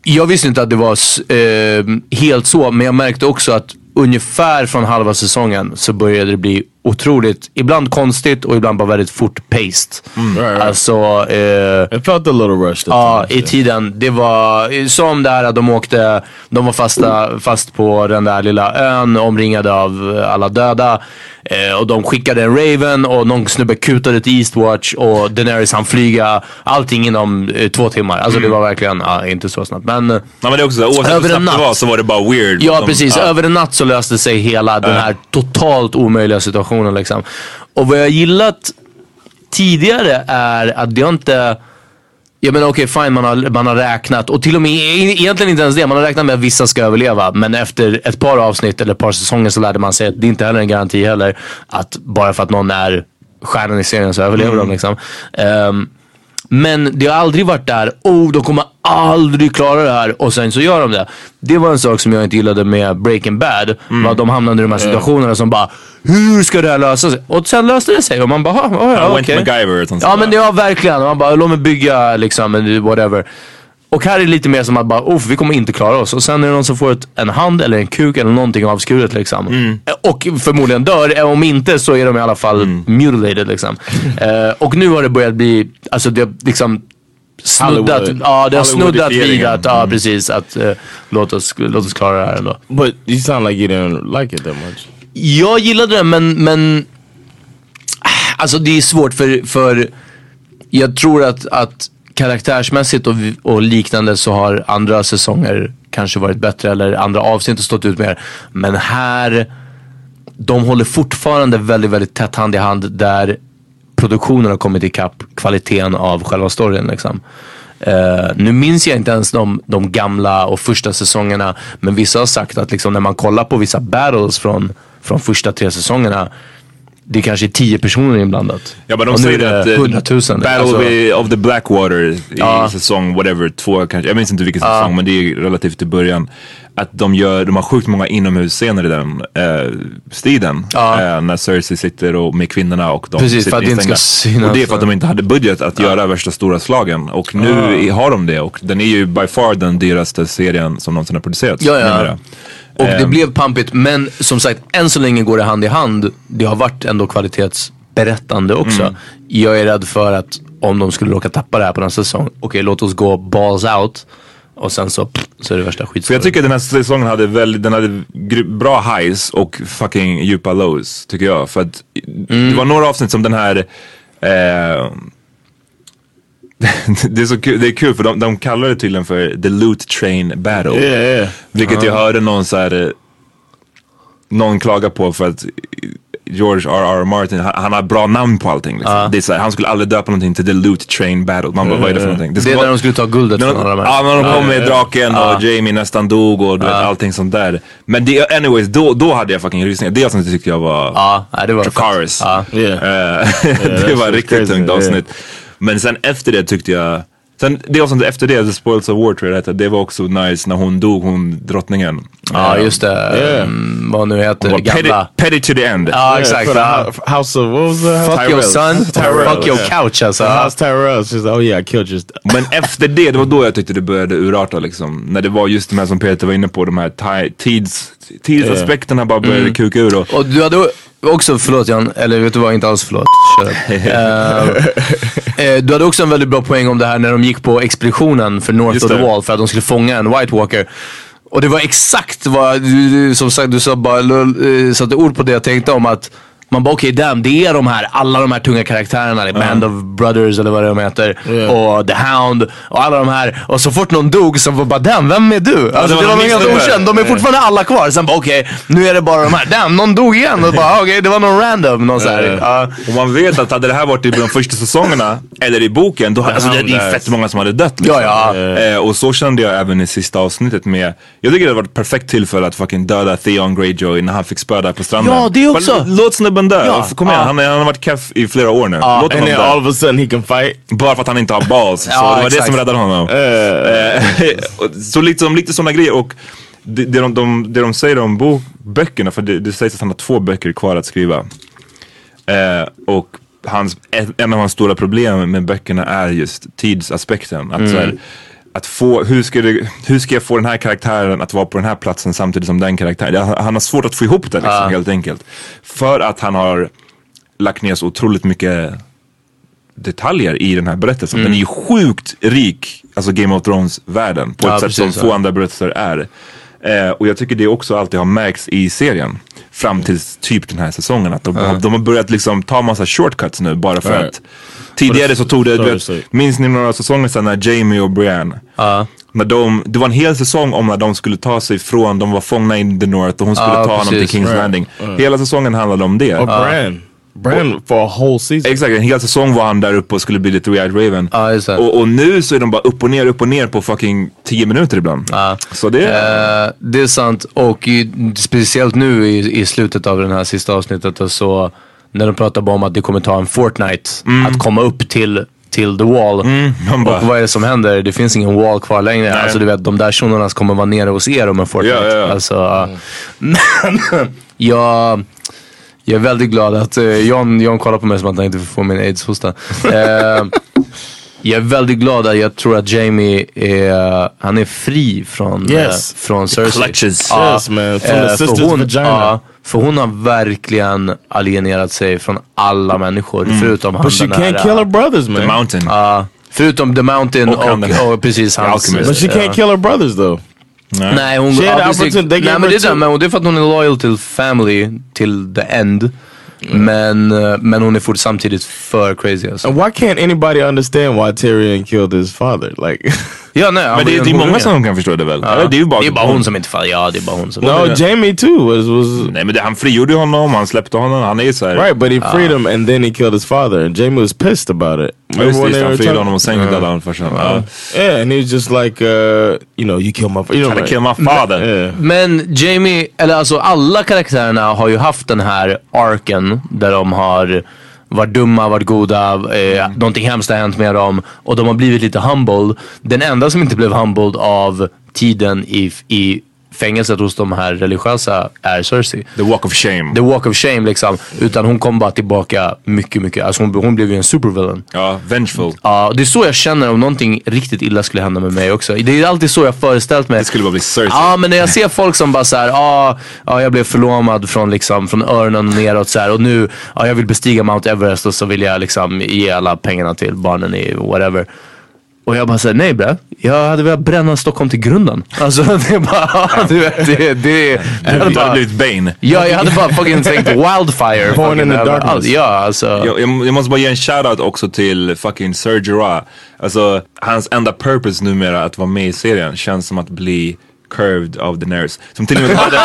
Speaker 2: jag visste inte att det var s- eh, helt så, men jag märkte också att ungefär från halva säsongen så började det bli otroligt, ibland konstigt och ibland bara väldigt fort paced.
Speaker 1: Right, right.
Speaker 2: Alltså eh,
Speaker 1: It felt a little rushed. at
Speaker 2: Ja,
Speaker 1: times,
Speaker 2: i tiden. Det var som där att de åkte, de var fasta, fast på den där lilla ön omringade av alla döda. Eh, och de skickade en Raven och någon snubbe kutade till Eastwatch och Daenerys han flyga. Allting inom eh, två timmar. Alltså det var verkligen, ja, inte så snabbt men.
Speaker 4: Nej men det är också så, här, oavsett
Speaker 2: Över
Speaker 4: hur
Speaker 2: en
Speaker 4: snabbt det
Speaker 2: natt.
Speaker 4: var så var det bara weird. Liksom, ah,
Speaker 2: Ja
Speaker 4: De-
Speaker 2: precis, över en natt så löste sig hela den här totalt omöjliga situationen liksom. Och vad jag gillat tidigare är att det har inte jag menar okej fine man har, man har räknat och till och med e- egentligen inte ens det. Man har räknat med att vissa ska överleva men efter ett par avsnitt eller ett par säsonger så lärde man sig att det inte heller är en garanti heller. Att bara för att någon är stjärnan i serien så överlever de liksom. Ehm, men det har aldrig varit där, oh de kommer aldrig klara det här och sen så gör de det. Det var en sak som jag inte gillade med Breaking Bad. Var att de hamnade i de här situationerna som bara, hur ska det här lösa sig? Och sen löste det sig och man bara, "Ah, ah, ja,
Speaker 4: I
Speaker 2: okej.
Speaker 4: went MacGyver och sånt
Speaker 2: Ja
Speaker 4: sånt
Speaker 2: men
Speaker 4: där.
Speaker 2: ja verkligen, man bara låt mig bygga liksom, and whatever. Och här är det lite mer som att bara, Uff, vi kommer inte klara oss. Och sen är det någon som får ett, en hand eller en kuk eller någonting avskuret liksom.
Speaker 3: Mm.
Speaker 2: Och förmodligen dör. Eh, Om inte så är de i alla fall
Speaker 3: Mm.
Speaker 2: mutilated liksom. eh, och nu har det börjat bli, alltså det har liksom snuddat,
Speaker 3: Hollywood.
Speaker 2: ja, det har snuddat vid
Speaker 3: Hollywoodifieringen. Mm.
Speaker 2: att, ja precis, att eh, låt, oss, låt oss klara det här ändå.
Speaker 3: But you sound like you didn't like it that much.
Speaker 2: Jag gillade den men, men alltså det är svårt för, för jag tror att, att karaktärsmässigt och, och liknande så har andra säsonger kanske varit bättre eller andra avsnitt har stått ut mer. Men här, de håller fortfarande väldigt, väldigt tätt hand i hand där produktionen har kommit ikapp kvaliteten av själva storyn liksom. Eh, nu minns jag inte ens de, de gamla och första säsongerna. Men vissa har sagt att liksom, när man kollar på vissa battles från, från första tre säsongerna. Det kanske är tio personer inblandat.
Speaker 3: Ja, men de
Speaker 2: och nu
Speaker 3: säger
Speaker 2: är
Speaker 3: att
Speaker 2: det
Speaker 3: eh,
Speaker 2: hundratusen.
Speaker 3: Battle
Speaker 2: Alltså,
Speaker 3: of the Blackwater i
Speaker 2: Ja.
Speaker 3: säsong whatever, två kanske. Jag minns inte vilken säsong, men det är relativt till början. Att de, gör, de har sjukt många inomhusscener i den eh, striden.
Speaker 2: Ja.
Speaker 3: Eh, när Cersei sitter och, med kvinnorna och de
Speaker 2: Precis,
Speaker 3: sitter
Speaker 2: för att det inte ska
Speaker 3: instängda.
Speaker 2: synas.
Speaker 3: Och det är för att de inte hade budget att göra värsta stora slagen. Och nu i- har de det och den är ju by far den dyraste serien som någonsin har producerats.
Speaker 2: Ja, ja.
Speaker 3: numera.
Speaker 2: och det
Speaker 3: ehm.
Speaker 2: blev pampigt. Men som sagt, än så länge går det hand i hand. Det har varit ändå kvalitetsberättande också.
Speaker 1: Mm.
Speaker 2: Jag är rädd för att om de skulle råka tappa det här på nästa säsong. Okej, låt oss gå balls out. Och sen så, pff, så är det värsta skit.
Speaker 3: För jag tycker den här säsongen hade väldigt, den hade gr- bra highs och fucking djupa lows tycker jag. För att det var några avsnitt som den här, eh, det är så kul, det är kul för de, de kallar det tydligen för the loot train battle.
Speaker 1: yeah.
Speaker 3: Vilket jag hörde någon så här, eh, någon klaga på för att George R.R. Martin, han, han har bra namn på allting. Liksom. Det är så här, han skulle aldrig döpa någonting till the loot train battle. Man bara, vad är det för någonting?
Speaker 2: Mm. Eh, Det
Speaker 3: ska
Speaker 2: är
Speaker 3: vara-
Speaker 2: när de skulle ta guldet
Speaker 3: när
Speaker 2: från
Speaker 3: de,
Speaker 2: alla de
Speaker 3: ja,
Speaker 2: här.
Speaker 3: när de kom med draken och Jamie nästan dog och du vet, allting sånt där. Men det, anyways, då, då hade jag fucking rysningar. Det avsnittet tyckte jag var...
Speaker 2: Ja, nej, det var
Speaker 3: Dracarys.
Speaker 2: Ja.
Speaker 3: Eh,
Speaker 1: that's
Speaker 3: det var ett riktigt
Speaker 1: crazy,
Speaker 3: tungt
Speaker 1: yeah.
Speaker 3: avsnit. Men sen efter det tyckte jag... Sen det avsnittet efter det, The Spoils of War tror jag det hette, det var också nice när hon dog, hon drottningen.
Speaker 2: Ja,
Speaker 3: Eh,
Speaker 2: just det. Mm, vad nu
Speaker 3: hon
Speaker 2: heter det
Speaker 3: var petty,
Speaker 2: gamla.
Speaker 3: petty to the end.
Speaker 2: Ja,
Speaker 1: Yeah,
Speaker 2: exakt.
Speaker 1: for the
Speaker 2: Ja.
Speaker 1: hou- House of, what was the house?
Speaker 2: Fuck your son,
Speaker 1: Tyrell,
Speaker 2: fuck your
Speaker 1: yeah.
Speaker 2: couch alltså.
Speaker 1: The House Tyrell. She's like, oh yeah, I killed your... st-
Speaker 3: Men efter det, det var då jag tyckte det började urarta liksom. När det var just de här som Peter var inne på, de här ti- tids, tidsaspekterna bara började
Speaker 2: Mm.
Speaker 3: kuka ur. Och,
Speaker 2: Och du hade också, förlåt Jan, eller vet du vad, inte alls förlåt. Kör. Eh, eh, du hade också en väldigt bra poäng om det här när de gick på expeditionen för North
Speaker 3: Just
Speaker 2: of the
Speaker 3: det.
Speaker 2: Wall för att de skulle fånga en White Walker. Och det var exakt vad, du, du, som sagt du sa bara, eh, satte ord på det jag tänkte om att man bara okej damn, det är de här, alla de här tunga karaktärerna. Like Band of Brothers eller vad de heter. Och The Hound och alla de här. Och så fort någon dog så var bara damn, vem är du? Alltså,
Speaker 3: var
Speaker 2: det var
Speaker 3: de
Speaker 2: någon helt
Speaker 3: missade.
Speaker 2: okänd.
Speaker 1: Eh.
Speaker 2: De är fortfarande alla kvar. Sen bara okej, nu är det bara de här. Damn, någon dog igen. Och bara okej, det var någon random. Någon så här.
Speaker 1: Eh.
Speaker 2: Ja.
Speaker 3: och Eh, man vet att hade det här varit i de första säsongerna, eller i boken, då hade, alltså, det är ju fett många som hade dött. Liksom.
Speaker 2: Ja,
Speaker 3: Eh, och så kände jag även i sista avsnittet med, jag tycker det var ett perfekt tillfälle att fucking döda Theon Greyjoy när han fick spö där på stranden.
Speaker 2: Ja, det också.
Speaker 3: Bara, låt snubben dö.
Speaker 2: Ja,
Speaker 3: Kom igen,
Speaker 2: ja.
Speaker 3: han, han har varit keff i flera år nu. låt
Speaker 1: And
Speaker 3: honom dö.
Speaker 1: then all of a sudden he can fight.
Speaker 3: Bara för att han inte har balls. så
Speaker 2: Ja,
Speaker 3: det var
Speaker 2: exakt.
Speaker 3: det som räddade honom. Eh, och så liksom, lite sådana grejer. Och det, det, de, de, det de säger om bo, böckerna, för det, det sägs att han har två böcker kvar att skriva. Eh, och hans, ett, en av hans stora problem med böckerna är just tidsaspekten. Att, så här, att få, hur, ska det, hur ska jag få den här karaktären att vara på den här platsen samtidigt som den karaktären? Det- Han har svårt att få ihop det liksom, helt enkelt. För att han har lagt ner så otroligt mycket detaljer i den här berättelsen.
Speaker 2: Mm.
Speaker 3: Den är ju sjukt rik, alltså Game of Thrones-världen, på
Speaker 2: Ja,
Speaker 3: ett sätt
Speaker 2: precis,
Speaker 3: som
Speaker 2: ja.
Speaker 3: få andra berättelser är. Eh, och jag tycker det också alltid har märkts i serien. Fram till typ den här säsongen. Att de, de har börjat liksom ta massa shortcuts nu bara för
Speaker 1: Right.
Speaker 3: att Tidigare så tog det, du
Speaker 1: Sorry,
Speaker 3: vet,
Speaker 1: sorry.
Speaker 3: minns ni några säsonger sedan när Jamie och Brienne när de, det var en hel säsong om när de skulle ta sig från, de var fångna i the North och hon skulle
Speaker 2: Ja,
Speaker 3: ta honom till
Speaker 2: precis.
Speaker 3: Kings
Speaker 2: Right.
Speaker 3: Landing. Hela säsongen handlade om det.
Speaker 1: Or Bran. Bran for a whole season.
Speaker 3: Exakt, en hel säsong var han där uppe och skulle bli the three-eyed raven.
Speaker 2: Ja, just det.
Speaker 3: och, och nu så är de bara upp och ner, upp och ner på fucking 10 minuter ibland. Så det
Speaker 2: Eh, det är sant och i, speciellt nu i, i slutet av det här sista avsnittet och så när de pratar bara om att det kommer ta en Fortnite att komma upp till, till the wall.
Speaker 3: Mm. man bara-
Speaker 2: och vad är det som händer? Det finns ingen wall kvar längre. Alltså du vet, de där shunorna kommer vara nere hos er om en Fortnite.
Speaker 3: Ja, ja, Mm. ja.
Speaker 2: Alltså, Men jag, jag är väldigt glad att eh, John, John kollar på mig som att han inte får min aids-hosta. Eh, Jag är väldigt glad att jag tror att Jamie är, han är fri från,
Speaker 1: Yes.
Speaker 2: eh, från Cersei.
Speaker 1: clutches.
Speaker 2: Ja,
Speaker 1: Yes, man. From the
Speaker 2: eh,
Speaker 1: sister's
Speaker 2: för, hon,
Speaker 1: vagina.
Speaker 2: ja, för hon har verkligen alienerat sig från alla människor förutom han
Speaker 1: Mm. But she
Speaker 2: den här,
Speaker 1: can't kill her brothers, man.
Speaker 3: The mountain.
Speaker 2: Eh, ja, Förutom Uh, The Mountain
Speaker 3: Och
Speaker 2: och,
Speaker 3: han den här-
Speaker 2: och, precis hans...
Speaker 3: Alchemist.
Speaker 2: eh,
Speaker 1: But she can't kill her brothers though.
Speaker 2: Nej, hon,
Speaker 1: She had
Speaker 2: ja,
Speaker 1: the
Speaker 2: precis.
Speaker 1: opportunity-
Speaker 2: Nej
Speaker 1: they gave
Speaker 2: men
Speaker 1: her
Speaker 2: det är,
Speaker 1: two.
Speaker 2: det, men hon- det är för att hon är loyal till family till the end. Men, eh, men hon är fort samtidigt för crazy alltså.
Speaker 1: And why can't anybody understand why Tyrion killed his father? Like,
Speaker 2: Ja, nej, han
Speaker 3: Men det,
Speaker 2: var
Speaker 3: det är
Speaker 2: en
Speaker 3: många
Speaker 2: horunge.
Speaker 3: som kan förstå det väl?
Speaker 2: Ja.
Speaker 3: Eller, Det är ju bara,
Speaker 2: hon som inte fattar. Ja, det är bara hon som...
Speaker 1: no, Jamie too was was
Speaker 3: Nej men det, han frigjorde ju honom, han släppte honom, han är ju såhär...
Speaker 1: right, but he freed
Speaker 2: Ah.
Speaker 1: him and then he killed his father, and Jamie was pissed about it.
Speaker 3: Ja, just det, just det, han
Speaker 1: trying-
Speaker 2: typ.
Speaker 3: frigjorde honom och sen dödade han farsan. Ja.
Speaker 1: Yeah, and he was just like, uh, you know, you killed my, you know,
Speaker 3: Trying to
Speaker 1: like-
Speaker 3: kill my father.
Speaker 1: Yeah.
Speaker 2: Men Jamie, eller alltså alla karaktärerna har ju haft den här arken där de har varit dumma, varit goda, eh,
Speaker 3: Mm.
Speaker 2: någonting hemskt har hänt med dem och de har blivit lite humbled. Den enda som inte blev humbled av tiden i, i fängelset hos de här religiösa är Cersei.
Speaker 3: The walk of shame.
Speaker 2: The walk of shame liksom. Utan hon kom bara tillbaka mycket, mycket. Alltså hon, hon blev ju en supervillain.
Speaker 3: Ja, vengeful.
Speaker 2: Ja, det är så jag känner om någonting riktigt illa skulle hända med mig också. Det är alltid så jag föreställt mig.
Speaker 3: Det skulle bara bli Cersei.
Speaker 2: Ja, men när jag ser folk som bara såhär, ja, ja, jag blev förlomad från, liksom, från öronen och neråt så här, och nu, ja, jag vill bestiga Mount Everest och så vill jag liksom ge alla pengarna till barnen i whatever. Och jag bara säger nej bre, jag hade velat bränna Stockholm till grunden. Alltså det är bara, ja, du vet, det, det, jag
Speaker 3: Du
Speaker 2: hade
Speaker 3: hade
Speaker 2: bara,
Speaker 3: blivit Bane.
Speaker 2: ja, jag hade bara fucking tänkt wildfire.
Speaker 1: Born in the
Speaker 2: fucking överallt.
Speaker 1: darkness.
Speaker 2: Ja, alltså.
Speaker 3: Jag, jag, jag måste bara ge en shoutout också till fucking Serge Ra. Alltså, hans enda purpose numera att vara med i serien känns som att bli curved av Daenerys. Som till och med de hade,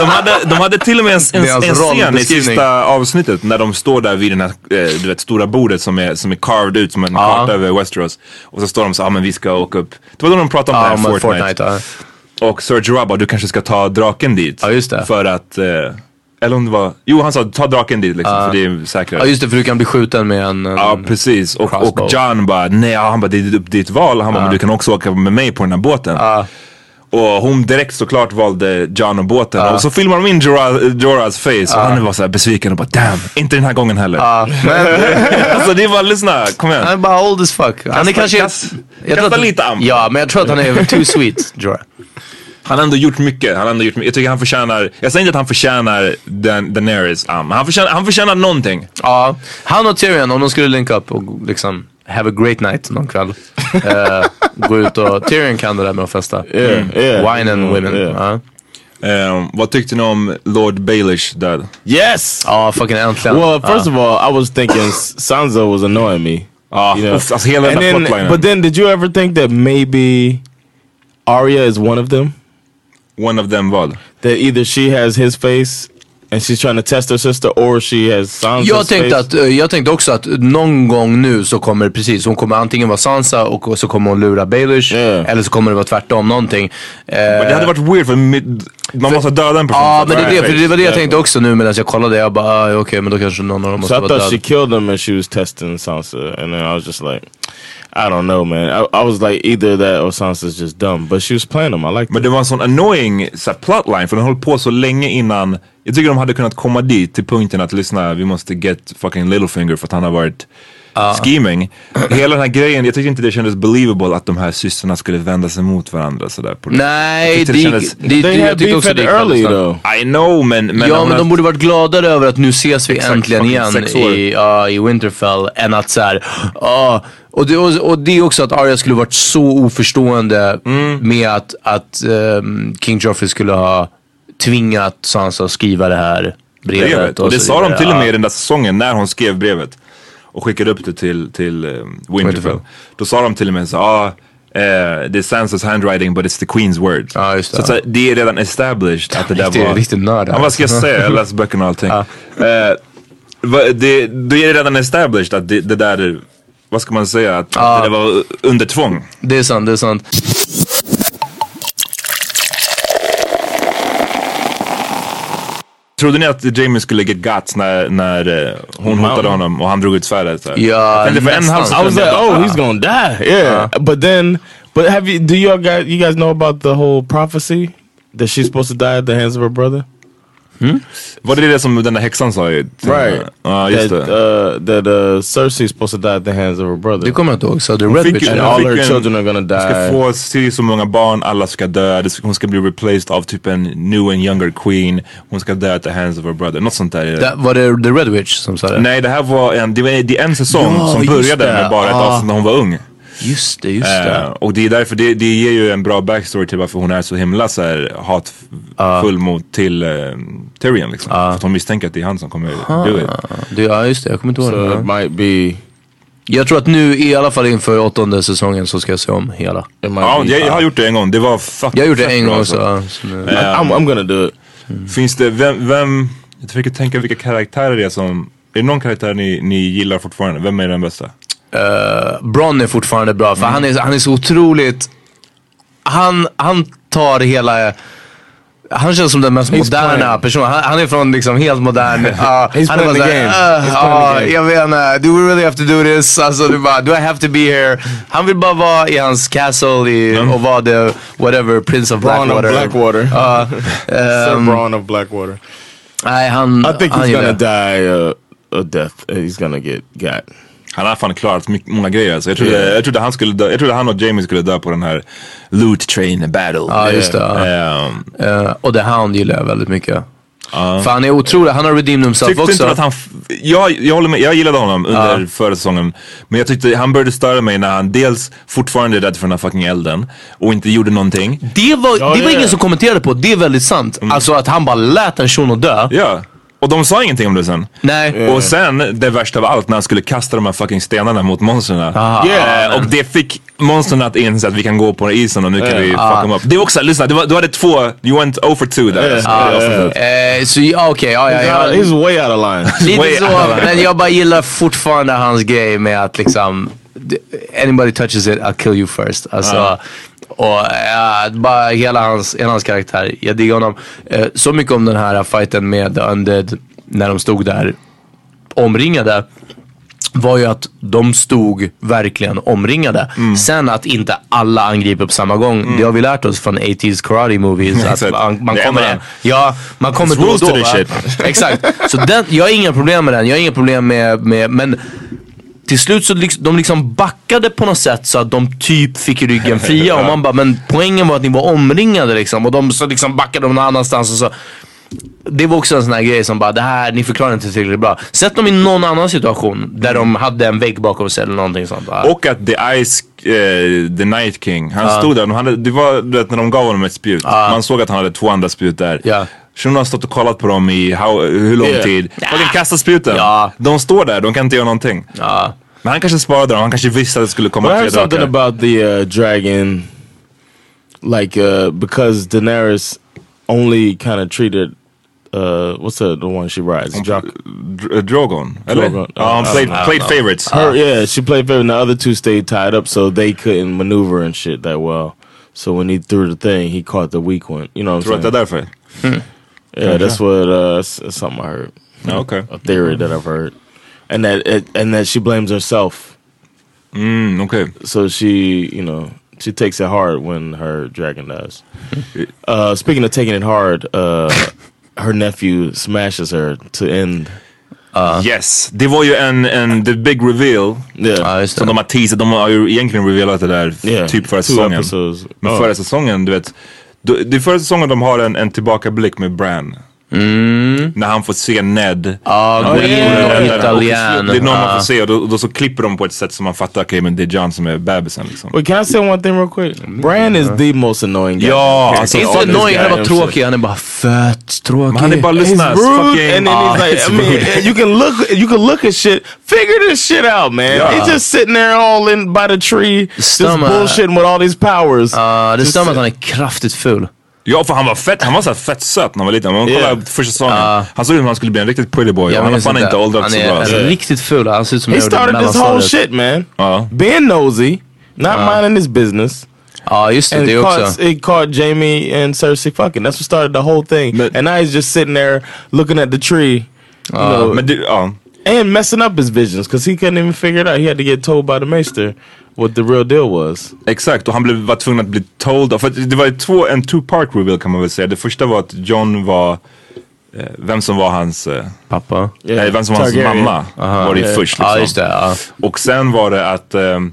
Speaker 3: de hade, de hade till och med en, en,
Speaker 2: Det är hans
Speaker 3: en scen i
Speaker 2: rollbeskrivning.
Speaker 3: sista avsnittet när de står där vid den här eh, du vet, stora bordet som är, som är carved ut som en karta över Westeros. Och så står de så ah, men vi ska åka upp. Det var då de pratade om
Speaker 2: Ja,
Speaker 3: det här
Speaker 2: men
Speaker 3: Fortnite.
Speaker 2: Fortnite, ja.
Speaker 3: Och Serge Ra bara, du kanske ska ta draken dit.
Speaker 2: Ja, just det.
Speaker 3: För att, eh, eller om det var, jo han sa ta draken dit liksom för det är säkrare.
Speaker 2: Ja just det, för du kan bli skjuten med en... en
Speaker 3: Ja precis och,
Speaker 2: crossbow.
Speaker 3: och John bara nej ja, han bara det är ditt val. Han bara men du kan också åka med mig på den här båten. Och hon direkt såklart valde John och båten. Och så filmar de in Jorah- Jorahs face och han var såhär besviken och bara damn inte den här gången heller. alltså det är bara lyssna kom igen.
Speaker 2: Han är bara old as fuck. Han
Speaker 3: Kasta-
Speaker 2: är kanske...
Speaker 3: kast-
Speaker 2: jag tror
Speaker 3: kasta
Speaker 2: att-
Speaker 3: lite amp.
Speaker 2: Ja, men jag tror att han är too sweet, Jorah.
Speaker 3: Han har ändå gjort mycket. Han har ändå gjort, mycket. jag tycker han förtjänar, jag säger inte att han förtjänar Dan Daenerys arm. Han förtjänar, han förtjänar någonting.
Speaker 2: Ja, han och Tyrion, om de skulle linka upp och liksom have a great night någon kväll. eh, gå ut och... Tyrion kan det där med att festa. Mm.
Speaker 1: Yeah, yeah.
Speaker 2: Wine and women.
Speaker 1: yeah.
Speaker 2: Ja,
Speaker 3: Ehm, vad tyckte ni om Lord Baelish död?
Speaker 1: Yes.
Speaker 2: Ja, fucking äntligen.
Speaker 1: Well,
Speaker 2: Ja.
Speaker 1: first of all, I was thinking S- Sansa was annoying me.
Speaker 3: Ah, uff, alltså hela
Speaker 1: and
Speaker 3: den där
Speaker 1: then,
Speaker 3: plotlinen.
Speaker 1: but then, did you ever think that maybe Arya is one of them?
Speaker 3: One of them vad?
Speaker 1: That either she has his face and she's trying to test her sister, or she has Sansa's
Speaker 2: Jag
Speaker 1: face.
Speaker 2: tänkte, att, eh, jag tänkte också att någon gång nu så kommer det precis, hon kommer antingen vara Sansa och så kommer hon lura Baelish.
Speaker 1: Yeah.
Speaker 2: Eller så kommer det vara tvärtom någonting. Eh,
Speaker 3: Men det hade varit weird för mid, man måste döda en person.
Speaker 2: Ja
Speaker 3: för
Speaker 2: men det,
Speaker 3: att döda
Speaker 2: är det, för
Speaker 3: en
Speaker 2: det var det jag
Speaker 1: Därför.
Speaker 2: tänkte också nu medan jag kollade. Jag bara, ah, okej men då kanske någon av dem måste
Speaker 1: So
Speaker 2: vara
Speaker 1: I thought she
Speaker 2: död.
Speaker 1: killed him and she was testing Sansa, and then I was just like, I don't know, man. I, I was like, either that or Sansa's just dumb, but she was playing him. I like
Speaker 3: Men det var en sån annoying så här, plotline för den höll på så länge innan. Jag tycker de hade kunnat komma dit till punkten att lyssna, vi måste get fucking Littlefinger för att han har varit scheming. Hela den här grejen, jag tyckte inte det kändes believable att de här systrarna skulle vända sig mot varandra sådär. på det. Jag
Speaker 2: Nej,
Speaker 3: tyckte
Speaker 2: det,
Speaker 3: det
Speaker 2: gick-
Speaker 3: kändes-
Speaker 2: det, det,
Speaker 1: They
Speaker 2: jag
Speaker 1: had
Speaker 2: tyckte
Speaker 1: beef
Speaker 2: också
Speaker 1: at
Speaker 2: det gick
Speaker 1: early
Speaker 2: väldigt snabbt.
Speaker 1: though.
Speaker 3: I know men... men
Speaker 2: Ja
Speaker 3: hon
Speaker 2: men
Speaker 3: har-
Speaker 2: de borde varit gladare över att nu ses vi
Speaker 3: Exakt,
Speaker 2: äntligen
Speaker 3: fucking
Speaker 2: igen
Speaker 3: sex år.
Speaker 2: i, ja, i Winterfell än att såhär, ja. och, det, och, och det är också att Arya skulle varit så oförstående
Speaker 3: Mm.
Speaker 2: med att, att ehm, King Joffrey skulle ha tvingat Sansa att skriva det här brevet.
Speaker 3: brevet. Och det
Speaker 2: så
Speaker 3: sa de
Speaker 2: vidare.
Speaker 3: till och med
Speaker 2: Ja.
Speaker 3: i den där säsongen när hon skrev brevet och skickade upp det till, till eh, Winterfell.
Speaker 2: Winterfell.
Speaker 3: Då sa de till och med så ah, eh, det är Sansas handwriting but it's the Queen's words.
Speaker 2: Ja, just det.
Speaker 3: Så, att, så här, det är redan established att det där
Speaker 2: Riktig-
Speaker 3: var...
Speaker 2: riktig nörd här.
Speaker 3: Ja, vad ska jag säga? Jag läser böckerna och allting. Eh, va- det, då är det redan established att det, det där, vad ska man säga, att det där var under tvång.
Speaker 2: Det är sant, det är sant.
Speaker 3: Trodde ni att Jamie skulle get guts när, när eh, hon hotade honom och han drog ut svärdet? så här?
Speaker 2: Ja,
Speaker 3: Jag tänkte för en halv
Speaker 2: nästan.
Speaker 1: I
Speaker 3: sekund,
Speaker 1: was like,
Speaker 3: jag bara,
Speaker 1: oh, he's gonna die. Uh. Yeah. But then, but have you? Do y'all guys? You guys know about the whole prophecy that she's supposed to die at the hands of her brother?
Speaker 3: Var det det som den där häxan sa? i- till-
Speaker 1: Right.
Speaker 3: Ja, just
Speaker 1: that,
Speaker 3: det.
Speaker 1: Uh, that uh, Cersei is supposed to die at the hands of her brother.
Speaker 2: Det kommer jag inte ihåg. Så the
Speaker 3: Hon
Speaker 2: red
Speaker 3: fick
Speaker 2: bitch.
Speaker 3: ju-
Speaker 1: and
Speaker 3: hon
Speaker 1: all
Speaker 3: fick
Speaker 1: her
Speaker 3: en-
Speaker 1: children are gonna
Speaker 3: Hon ska
Speaker 1: die.
Speaker 3: få se så många barn, alla ska dö, Det- hon ska bli replaced av typ en new and younger queen, hon ska dö at the hands of her brother, något sånt där. är det.
Speaker 2: Där Var det the red witch som sa det?
Speaker 3: Nej, det här var en, det var det är en säsong
Speaker 2: Ja,
Speaker 3: som
Speaker 2: just
Speaker 3: började
Speaker 2: det.
Speaker 3: med bara ett
Speaker 2: Ah.
Speaker 3: avsnitt när hon var ung.
Speaker 2: Just det, just
Speaker 3: Eh,
Speaker 1: Uh,
Speaker 2: det.
Speaker 3: och det är därför, det, det ger ju en bra backstory till varför hon är så himla så här,
Speaker 2: Ah.
Speaker 3: hatfull mot till eh, Tyrion liksom. För att hon misstänker att det är han som kommer
Speaker 2: Ah.
Speaker 3: do it.
Speaker 2: det. Ja, just det. Jag kommer inte ihåg
Speaker 1: So
Speaker 2: det.
Speaker 1: it might be.
Speaker 2: Jag tror att nu, i alla fall inför åttonde säsongen, så ska jag se om hela.
Speaker 1: It might
Speaker 3: Ja,
Speaker 1: be.
Speaker 3: jag, jag har gjort det en gång, det var fuck,
Speaker 2: Jag gjorde
Speaker 3: fett
Speaker 2: det en
Speaker 3: bra,
Speaker 2: gång
Speaker 3: alltså.
Speaker 2: så... så nu.
Speaker 1: I, I'm, I'm gonna do it.
Speaker 3: Finns det, vem, vem, jag försöker tänka vilka karaktärer det är som, är det någon karaktär ni, ni gillar fortfarande? Vem är den bästa?
Speaker 2: Bronn är fortfarande bra,
Speaker 1: Mm.
Speaker 2: för han, är, han är så otroligt... Han, han tar hela... Han känns som den mest moderna personen. Han, han är från liksom helt modern... Uh,
Speaker 1: He's
Speaker 2: han är
Speaker 1: playing the
Speaker 2: såhär,
Speaker 1: game. He's
Speaker 2: "Ah,
Speaker 1: playing the
Speaker 2: ah,
Speaker 1: game."
Speaker 2: jag vet inte, do we really have to do this? Alltså, du bara, do I have to be here? Han vill bara vara i hans castle i, och vara the whatever, prince of
Speaker 1: Mm. Braun of
Speaker 2: Blackwater.
Speaker 1: Blackwater.
Speaker 2: Ja,
Speaker 1: Sir
Speaker 2: ehm,
Speaker 1: Braun of Blackwater.
Speaker 2: nej, han...
Speaker 1: I think
Speaker 2: han
Speaker 1: he's
Speaker 2: gillar
Speaker 1: gonna
Speaker 2: jag.
Speaker 1: die uh, a death. Uh, He's gonna get got.
Speaker 3: Han har fan klarat mycket, många grejer alltså. jag, trodde, jag, trodde han skulle dö, jag trodde han och Jamie skulle dö på den här loot train battle.
Speaker 2: Ja, just det. ja.
Speaker 3: Ehm,
Speaker 2: Eh, och The Hound gillar jag väldigt mycket. För han är otrolig, han har redeemed himself
Speaker 3: Tyckte
Speaker 2: också.
Speaker 3: inte att han, f- jag, jag håller med, jag gillade honom under förra säsongen. Men jag tyckte han började störa mig när han dels fortfarande är rädd för den här fucking elden och inte gjorde någonting.
Speaker 2: Det var, det var
Speaker 1: ja, ja.
Speaker 2: ingen som kommenterade på, det är väldigt sant.
Speaker 1: Mm.
Speaker 2: Alltså att han bara lät en shuno dö.
Speaker 3: Ja. Och de sa ingenting om det sen.
Speaker 2: Nej.
Speaker 3: Och sen, det värsta av allt, när han skulle kasta de här fucking stenarna mot monstren.
Speaker 2: Ah.
Speaker 1: Yeah.
Speaker 3: Eh, och det fick monstren att inse att vi kan gå på isen och nu
Speaker 2: Eh.
Speaker 3: kan vi
Speaker 2: Ah.
Speaker 3: fuck dem upp. Det var också, lyssna, det var, du hade två, you went over two där.
Speaker 1: Eh,
Speaker 3: alltså. Det var sånt där.
Speaker 2: Eh, så ja, okej, ja, ja,
Speaker 1: Yeah,
Speaker 2: ja.
Speaker 1: he's way out of line.
Speaker 2: Lite
Speaker 3: way
Speaker 2: så, men jag bara gillar fortfarande hans grej med att liksom, d- anybody touches it, I'll kill you first. Alltså, Och ja, bara hela hans, hela hans karaktär, jag diggar honom. Eh, så mycket om den här fighten med The Undead, när de stod där omringade. var ju att de stod verkligen omringade.
Speaker 3: Mm.
Speaker 2: Sen att inte alla angriper på samma gång, det har vi lärt oss från 80s karate movies. att
Speaker 3: Exakt.
Speaker 2: man, man
Speaker 3: Det är
Speaker 2: kommer,
Speaker 3: man.
Speaker 2: ja, man kommer då och
Speaker 3: rules
Speaker 2: då.
Speaker 3: to this
Speaker 2: va?
Speaker 3: shit.
Speaker 2: Exakt. Så den, jag har inga problem med den. Jag har inga problem med, med men till slut så liksom, de liksom backade på något sätt så att de typ fick ryggen fria. Och man bara, men poängen var att ni var omringade liksom. Och de så liksom backade de någon annanstans och så. Det var också en sån här grej som bara, det här, ni förklarar inte tillräckligt bra. Sätt dem i någon annan situation där de hade en vägg bakom sig eller någonting sånt. va?
Speaker 3: Och att The Ice, eh, The Night King,
Speaker 2: Ah.
Speaker 3: han stod där, och han hade, det var du vet, när de gav honom ett spjut, man såg att han hade två andra spjut där.
Speaker 2: Ja.
Speaker 3: Shunon har stått och kollat på dem i how, hur lång
Speaker 1: Yeah.
Speaker 3: tid. De kan kasta spjuten.
Speaker 2: Ja. Ah.
Speaker 3: De står där, de kan inte göra någonting. Men han kanske sparade dem, han kanske visste att det skulle komma
Speaker 1: But I
Speaker 3: tre
Speaker 1: heard something
Speaker 3: drakar.
Speaker 1: about the uh, dragon, like uh, because Daenerys only kind of treated uh, what's the the one she rides? Jock-
Speaker 3: Dr- eh, Drogon, eller?
Speaker 1: Drogon.
Speaker 3: Ja, han
Speaker 1: I
Speaker 3: Oh, played,
Speaker 1: don't know.
Speaker 3: played favorites.
Speaker 1: uh, her, yeah, she played favorite. And the other two stayed tied up, so they couldn't maneuver and shit that well. So when he threw the thing, he caught the weak one. You know what
Speaker 3: Tror
Speaker 1: I'm
Speaker 3: att det är
Speaker 1: saying?
Speaker 3: därför?
Speaker 1: Yeah, that's what uh, s- something I heard,
Speaker 3: Ja, okej.
Speaker 1: a theory that I've heard, and that it, and that she blames herself.
Speaker 3: Mm, okej.
Speaker 1: so she you know she takes it hard when her dragon dies uh speaking of taking it hard uh her nephew smashes her to end
Speaker 3: Yes, det var ju en, en the big reveal.
Speaker 2: Ja,
Speaker 1: yeah
Speaker 2: just
Speaker 3: Som de
Speaker 2: det.
Speaker 3: har teasat, de har ju egentligen revealat det där
Speaker 1: yeah
Speaker 3: typ
Speaker 1: two
Speaker 3: förra säsongen.
Speaker 1: episodes.
Speaker 3: Men
Speaker 1: Oh.
Speaker 3: förra säsongen, du vet. då- Det är förra säsongen de har en, en tillbakablick med Bran.
Speaker 2: Mm.
Speaker 3: När han får se Ned.
Speaker 2: Ja,
Speaker 3: Han
Speaker 2: gå
Speaker 3: går in
Speaker 2: in
Speaker 3: och
Speaker 2: och
Speaker 3: räddar den. Och till
Speaker 2: italien.
Speaker 3: slut- Det är någon man
Speaker 2: Ja.
Speaker 3: får se och då, och då så klipper de på ett sätt som man fattar, okej men det är John som är bebisen liksom.
Speaker 1: wait can i say one thing real quick Bran is the most annoying guy
Speaker 3: Ja,
Speaker 2: Det
Speaker 3: alltså,
Speaker 2: är
Speaker 3: all
Speaker 2: inte
Speaker 3: this
Speaker 2: annoying,
Speaker 3: guy
Speaker 2: han är bara
Speaker 3: I'm
Speaker 2: tråkig. Han är bara fett tråkig.
Speaker 3: Men han är bara
Speaker 1: He's
Speaker 3: lyssnar.
Speaker 1: rude,
Speaker 3: fucking-
Speaker 1: and then
Speaker 3: Ah,
Speaker 1: he's like,
Speaker 3: it's
Speaker 1: I mean,
Speaker 3: rude.
Speaker 1: you can look, you can look at shit, figure this shit out, man.
Speaker 3: Yeah.
Speaker 1: He's just sitting there all in by the tree,
Speaker 2: Stomach. Uh,
Speaker 1: just bullshitting with all these powers.
Speaker 2: Ja, det stämmer att han är kraftigt ful.
Speaker 3: Ja för han var fett, han var så här fett söt när han var liten. Om Man kollar
Speaker 1: Yeah.
Speaker 3: första säsongen. Han såg ut som han skulle bli en riktigt pretty boy. och han har
Speaker 2: minns
Speaker 3: fan inte åldrats
Speaker 2: Han
Speaker 3: så
Speaker 2: är
Speaker 3: bra. alltså.
Speaker 2: riktigt ful. Han ser ut som
Speaker 1: He
Speaker 2: han gjorde i
Speaker 1: started this whole
Speaker 2: mellanstadiet.
Speaker 1: shit, man.
Speaker 3: Ja.
Speaker 1: Being nosy, not
Speaker 2: Uh-huh.
Speaker 1: minding his business,
Speaker 2: Ja, just det.
Speaker 1: and
Speaker 2: Det
Speaker 1: it
Speaker 2: också.
Speaker 1: caught, it caught Jamie and Cersei fucking. That's what started the whole thing.
Speaker 3: But-
Speaker 1: and now he's just sitting there looking at the tree, you
Speaker 2: Uh-huh.
Speaker 1: know,
Speaker 3: Men det, ja.
Speaker 1: and messing up his visions because he couldn't even figure it out. He had to get told by the Maester what the real deal was.
Speaker 3: Exakt, och han blev, var tvungen att bli told. För att det var ju två, en two-part reveal kan man väl säga. Det första var att John var eh, vem som var hans... Eh,
Speaker 2: Pappa.
Speaker 3: nej, vem som var hans
Speaker 1: Targaryen.
Speaker 3: mamma
Speaker 2: Uh-huh.
Speaker 3: var det ju
Speaker 1: Ja, ja.
Speaker 3: först.
Speaker 2: Ja, just det. Ja.
Speaker 3: Och sen var det att ehm,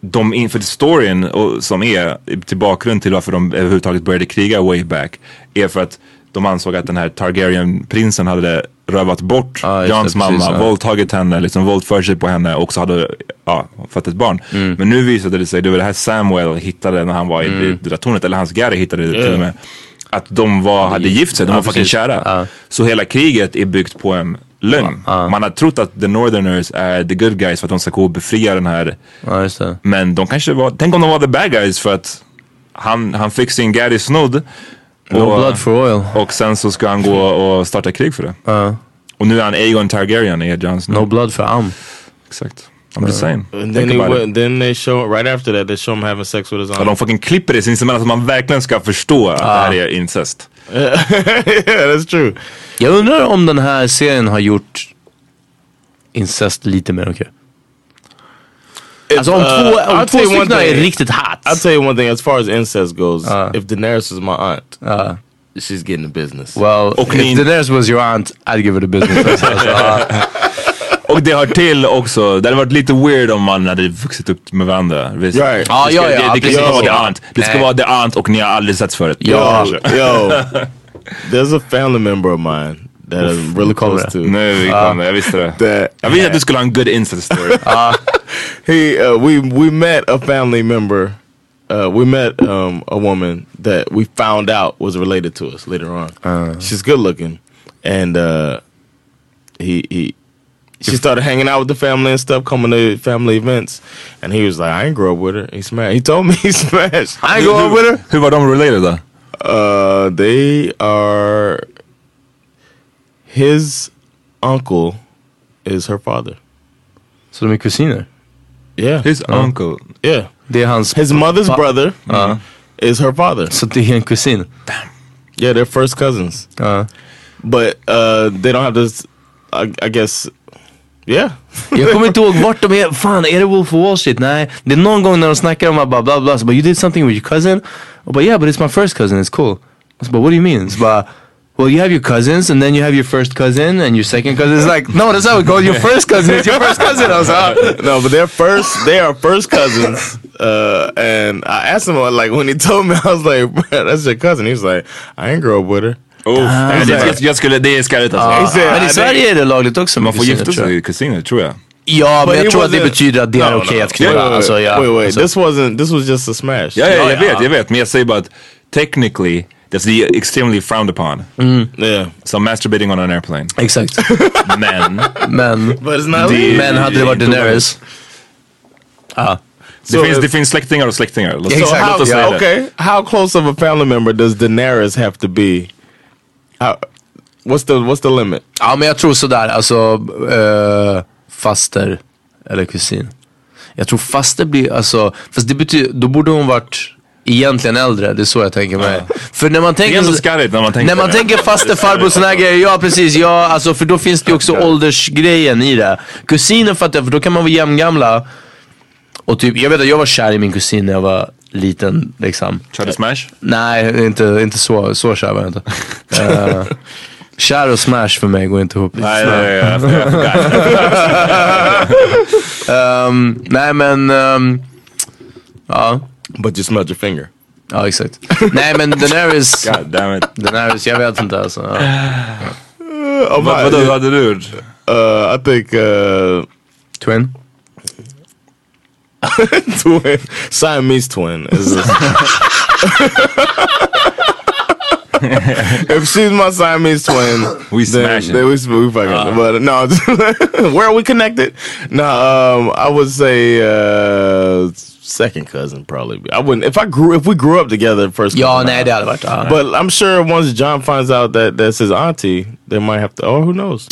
Speaker 3: de inför storyn och, som är till bakgrund till varför de överhuvudtaget började kriga way back är för att de ansåg att den här Targaryen-prinsen hade rövat bort
Speaker 2: Ja, just det,
Speaker 3: Jans mamma,
Speaker 2: precis, ja.
Speaker 3: våldtagit henne, liksom våldfört sig på henne och också hade ja, fött ett barn.
Speaker 2: Mm.
Speaker 3: Men nu visade det sig, det var det här Samuel hittade när han var i
Speaker 2: Mm.
Speaker 3: det där tornet, eller hans Gary hittade det till och med, att de var, hade gift sig, de
Speaker 2: Ja,
Speaker 3: var fucking
Speaker 2: precis.
Speaker 3: kära.
Speaker 2: Ja.
Speaker 3: Så hela kriget är byggt på en lögn. Man har trott att the northerners är the good guys för att de ska gå och befria den här.
Speaker 2: ja, just det.
Speaker 3: Men de kanske var, tänk om de var the bad guys för att han, han fick sin Gary snodd.
Speaker 2: No blood for oil.
Speaker 3: och sen så ska han gå och starta krig för det.
Speaker 2: Ja.
Speaker 3: Och nu är han Aegon Targaryen i Jon Snow.
Speaker 2: No blood for am.
Speaker 3: Exakt. I'm just saying.
Speaker 1: And then
Speaker 3: Think
Speaker 1: he
Speaker 3: about it.
Speaker 1: went, then they show right after that they show him having sex with his
Speaker 3: Ja,
Speaker 1: aunt.
Speaker 3: de fucking klipper det sinsemellan så man verkligen ska förstå att det här är incest.
Speaker 1: yeah, that's true.
Speaker 2: Jag undrar om den här serien har gjort incest lite mer okej. Alltså om
Speaker 1: uh,
Speaker 2: två, om
Speaker 1: I'll
Speaker 2: två
Speaker 1: tell you one
Speaker 2: stycken är
Speaker 1: thing.
Speaker 2: riktigt
Speaker 1: I'll
Speaker 2: hot.
Speaker 1: tell you one thing. As far as incest goes,
Speaker 2: Uh.
Speaker 1: if Daenerys is my aunt,
Speaker 2: Uh.
Speaker 1: she's getting the business.
Speaker 2: Well,
Speaker 3: Och ni-
Speaker 2: if Daenerys was your aunt, I'd give her the business first. alltså, ja.
Speaker 3: Och det hör till också, det hade varit lite weird om man hade vuxit upp med varandra. Visst?
Speaker 1: Right.
Speaker 2: Ja,
Speaker 3: det ska,
Speaker 2: ja,
Speaker 3: det,
Speaker 2: ja,
Speaker 3: det, kan
Speaker 2: precis.
Speaker 3: inte vara the
Speaker 2: Ja.
Speaker 3: aunt. Det ska
Speaker 2: Nej.
Speaker 3: vara the aunt och ni har aldrig sett förut.
Speaker 2: Ja.
Speaker 1: yo, there's a family member of mine that I'm really close
Speaker 2: Cobra.
Speaker 1: to.
Speaker 3: Nu vi kom, jag visste det.
Speaker 1: That
Speaker 3: Jag visste att du skulle ha en good incest story.
Speaker 1: he uh, we we met a family member. Uh, we met um, a woman that we found out was related to us later on. She's good looking, and uh, he he she started hanging out with the family and stuff, coming to family events. And he was like, "I ain't grow up with her." He smashed. He told me he smashed.
Speaker 2: I go up with her.
Speaker 3: Hur var de related då?
Speaker 1: Uh, they are. His uncle is her father.
Speaker 2: Så de är kusiner?
Speaker 1: Yeah,
Speaker 3: His uncle.
Speaker 1: yeah.
Speaker 2: Det är hans...
Speaker 1: His mother's
Speaker 2: Pa-
Speaker 1: brother is her father.
Speaker 2: Så det är en kusin?
Speaker 1: Yeah, they're first cousins,
Speaker 2: Ja.
Speaker 1: but uh, they don't have this. I, I guess, yeah.
Speaker 2: Jag kommer inte ihåg vart de är. Fan, är det Wolf of Wall Street? Nej. Det är någon gång när de snackar om att bara bla bla. Så bara, you did something with your cousin? Och bara, yeah but it's my first cousin, it's cool. Och så bara, what do you mean? Så bara, well you have your cousins and then you have your first cousin and your second cousin. It's like, no that's how it goes. Your first cousin is your first cousin. I was like, ah.
Speaker 1: No, but they're first. They are first cousins. Uh, and I asked him like when he told me, I was like, "Bruh, "That's your cousin." He was like, "I ain't grow up with her."
Speaker 3: Oh, nej, det, jag, jag skulle, det är skalligt alltså.
Speaker 1: said,
Speaker 2: Ah. Men
Speaker 1: "I
Speaker 2: i
Speaker 1: didn't-"
Speaker 2: Sverige är det lagligt också med
Speaker 3: Man får
Speaker 2: kusiner,
Speaker 3: gifta
Speaker 2: tror jag.
Speaker 3: sig i kusiner tror jag.
Speaker 2: Ja,
Speaker 1: But
Speaker 2: men jag
Speaker 1: it
Speaker 2: tror att det
Speaker 1: wasn't-
Speaker 2: betyder att det är
Speaker 1: No, no,
Speaker 2: okej
Speaker 1: no.
Speaker 2: att knulla.
Speaker 1: Wait, wait,
Speaker 2: Alltså, ja.
Speaker 1: wait, wait.
Speaker 2: Alltså,
Speaker 1: this wasn't. This was just a smash.
Speaker 3: Ja, ja, jag
Speaker 2: ja.
Speaker 3: vet, jag vet. Men jag säger bara att technically, that's extremely frowned upon.
Speaker 2: Mm.
Speaker 1: yeah.
Speaker 3: So masturbating on an airplane.
Speaker 2: Exakt.
Speaker 3: Men,
Speaker 2: Men,
Speaker 1: But it's not.
Speaker 3: Det-
Speaker 1: legal.
Speaker 2: men hade det varit Daenerys? Ah.
Speaker 3: det,
Speaker 1: So
Speaker 3: finns,
Speaker 1: if-
Speaker 3: det finns släktingar och släktingar. Låt,
Speaker 1: So
Speaker 2: Exakt,
Speaker 3: låt
Speaker 1: how,
Speaker 3: oss säga
Speaker 1: yeah,
Speaker 3: det.
Speaker 1: okay, how close of a family member does Daenerys have to be? How, what's the what's the limit?
Speaker 2: Ja men jag tror sådär, alltså eh, faster eller kusin. Jag tror faster blir, alltså, fast det betyder, då borde hon varit egentligen äldre, det är så jag tänker mig. För när man
Speaker 3: Det är
Speaker 2: tänker,
Speaker 3: ändå skalligt när man tänker
Speaker 2: när man
Speaker 3: på
Speaker 2: tänker
Speaker 3: det.
Speaker 2: faster farbror och såna här grejer, ja precis, ja alltså för då finns det ju också åldersgrejen i det. Kusinen fattar jag, för då kan man vara jämngamla. Och typ, jag vet att jag var kär i min kusin när jag var liten liksom.
Speaker 3: Körde smash?
Speaker 2: Nej, inte, inte så, så kär var jag inte. Eh, kär och smash för mig går inte ihop.
Speaker 3: Nej, nej, nej. nej.
Speaker 2: Ehm, nej men, ehm, ja,
Speaker 1: But you smelled your finger.
Speaker 2: ja exakt. nej men Daenerys,
Speaker 3: God damn it.
Speaker 2: Daenerys, jag vet inte alltså. Ja.
Speaker 1: Oh,
Speaker 3: Vad, vadå, vad hade du gjort?
Speaker 1: Uh, I think uh,
Speaker 2: Twin?
Speaker 1: twin Siamese twin is. A, if she's my Siamese twin,
Speaker 3: We
Speaker 1: then,
Speaker 3: smashing. Uh.
Speaker 1: then we, sm- we fucking. but no, where are we connected? No, um, I would say uh, second cousin probably. I wouldn't if I grew if we grew up together first.
Speaker 2: Ja,
Speaker 1: cousin,
Speaker 2: nej
Speaker 1: I-
Speaker 2: det hade varit, ja.
Speaker 1: But I'm sure once John finds out that that's his auntie, they might have to. Oh, who knows?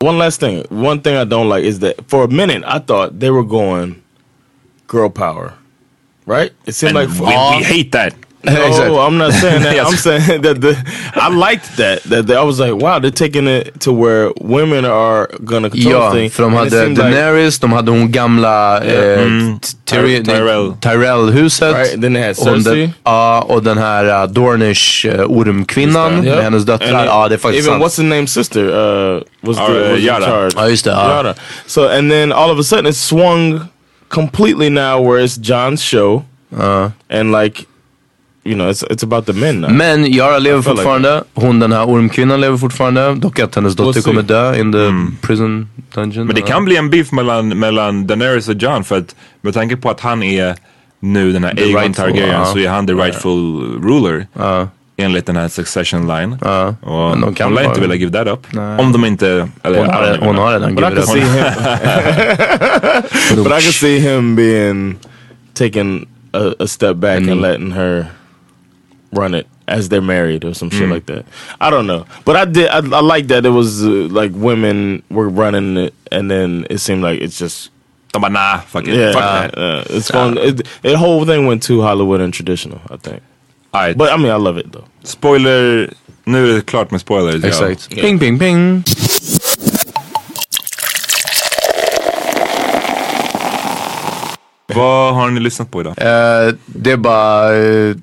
Speaker 1: One last thing. One thing I don't like is that for a minute I thought they were going girl power, right? It seemed like
Speaker 3: We, we hate that.
Speaker 2: Exakt.
Speaker 1: No, I'm not saying that. I'm saying that the I liked that. That the, I was like, wow, they're taking it to where women are gonna control
Speaker 2: Ja,
Speaker 1: things.
Speaker 2: för de
Speaker 1: And
Speaker 2: hade
Speaker 1: it seemed like- Mm-hmm.
Speaker 2: Daenerys, de hade hon gamla eh,
Speaker 3: Mm.
Speaker 2: Tyri-
Speaker 3: Ty- Tyrell.
Speaker 2: Tyrell-huset.
Speaker 1: Right, then they had
Speaker 2: och,
Speaker 1: Cersei.
Speaker 2: den, ja, och den här uh, Dornish eh, ormkvinnan
Speaker 1: Just det.
Speaker 2: med
Speaker 1: Yep.
Speaker 2: hennes döttrar.
Speaker 1: And
Speaker 2: Ja, det är faktiskt
Speaker 1: even
Speaker 2: sant.
Speaker 1: what's the name sister uh, was,
Speaker 3: Or,
Speaker 1: the,
Speaker 3: uh,
Speaker 1: was in
Speaker 3: Yara.
Speaker 1: charge.
Speaker 2: Ja, just det, ja.
Speaker 1: Yara. So and then all of a sudden it swung completely now where it's John's show
Speaker 2: Uh.
Speaker 1: and like you know it's it's about the men now.
Speaker 2: Men Yara lever
Speaker 1: I feel like
Speaker 2: fortfarande. Hon den här ormkvinnan lever fortfarande. Dock att hennes dotter
Speaker 1: We'll see.
Speaker 2: kommer dö in the prison dungeon.
Speaker 3: Mm. Men det kan bli en beef mellan, mellan Daenerys och John för att med tanke på att han är nu den här
Speaker 2: The
Speaker 3: Aegon
Speaker 2: rightful,
Speaker 3: Targaryen
Speaker 2: ja.
Speaker 3: så är han the rightful ruler. Enligt den här succession line. Och
Speaker 2: Men de
Speaker 3: de
Speaker 2: kan
Speaker 3: kan lär
Speaker 2: bara-
Speaker 3: inte vilja give that up. Om de inte... Eller,
Speaker 2: Hon,
Speaker 3: ja,
Speaker 2: har, hon har redan
Speaker 1: But I
Speaker 2: givit
Speaker 1: could see
Speaker 2: upp.
Speaker 1: him. but I could see him being taking a, a step back and letting her run it as they're married or some
Speaker 3: Mm.
Speaker 1: shit like that. I don't know, but I did. I, I like that it was uh, like women were running it, and then it seemed like it's just
Speaker 3: De bara nah, fuck it.
Speaker 1: yeah.
Speaker 3: fuck
Speaker 1: uh,
Speaker 3: that.
Speaker 1: uh, it's going. It, the whole thing went too Hollywood and traditional. I think,
Speaker 3: Alright,
Speaker 1: but I mean, I love it though.
Speaker 3: spoiler... Nu är det klart med spoilers. ja.
Speaker 2: Exakt. Ping, ping, ping.
Speaker 3: Vad har ni lyssnat på idag?
Speaker 2: Eh, det är bara... eh,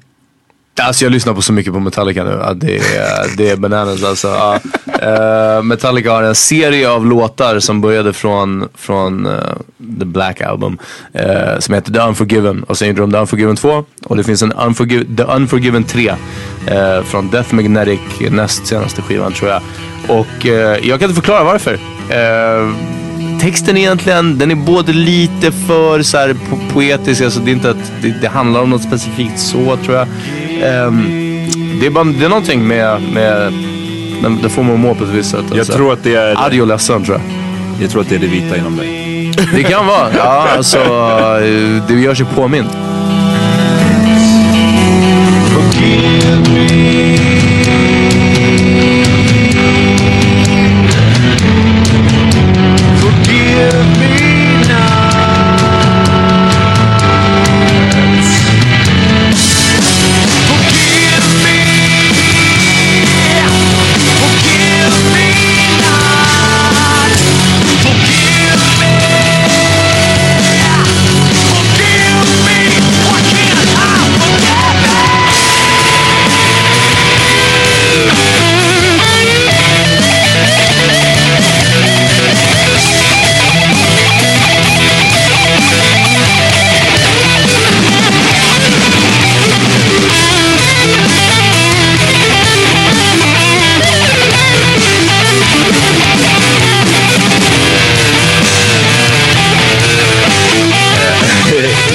Speaker 2: alltså jag lyssnar på så mycket på Metallica nu. att det, är, det är bananas alltså. Ja. Eh, Metallica har en serie av låtar som började från, från eh, The Black Album. eh, som heter The Unforgiven. Och sen gjorde de The Unforgiven 2. Och det finns en Unforgi- The Unforgiven 3. eh, från Death Magnetic, näst senaste skivan tror jag. Och eh, jag kan inte förklara varför. Eh, texten egentligen, den är både lite för så här, po poetisk, alltså det är inte att det, det handlar om något specifikt så tror jag. Ehm, det, är bara, det är någonting med, med den, den får man att må på ett visst sätt. alltså.
Speaker 3: Jag tror att det är...
Speaker 2: Arg och ledsen tror jag.
Speaker 3: Jag tror att det är det vita inom dig.
Speaker 2: Det kan vara. Ja, alltså eh, det gör sig påmint.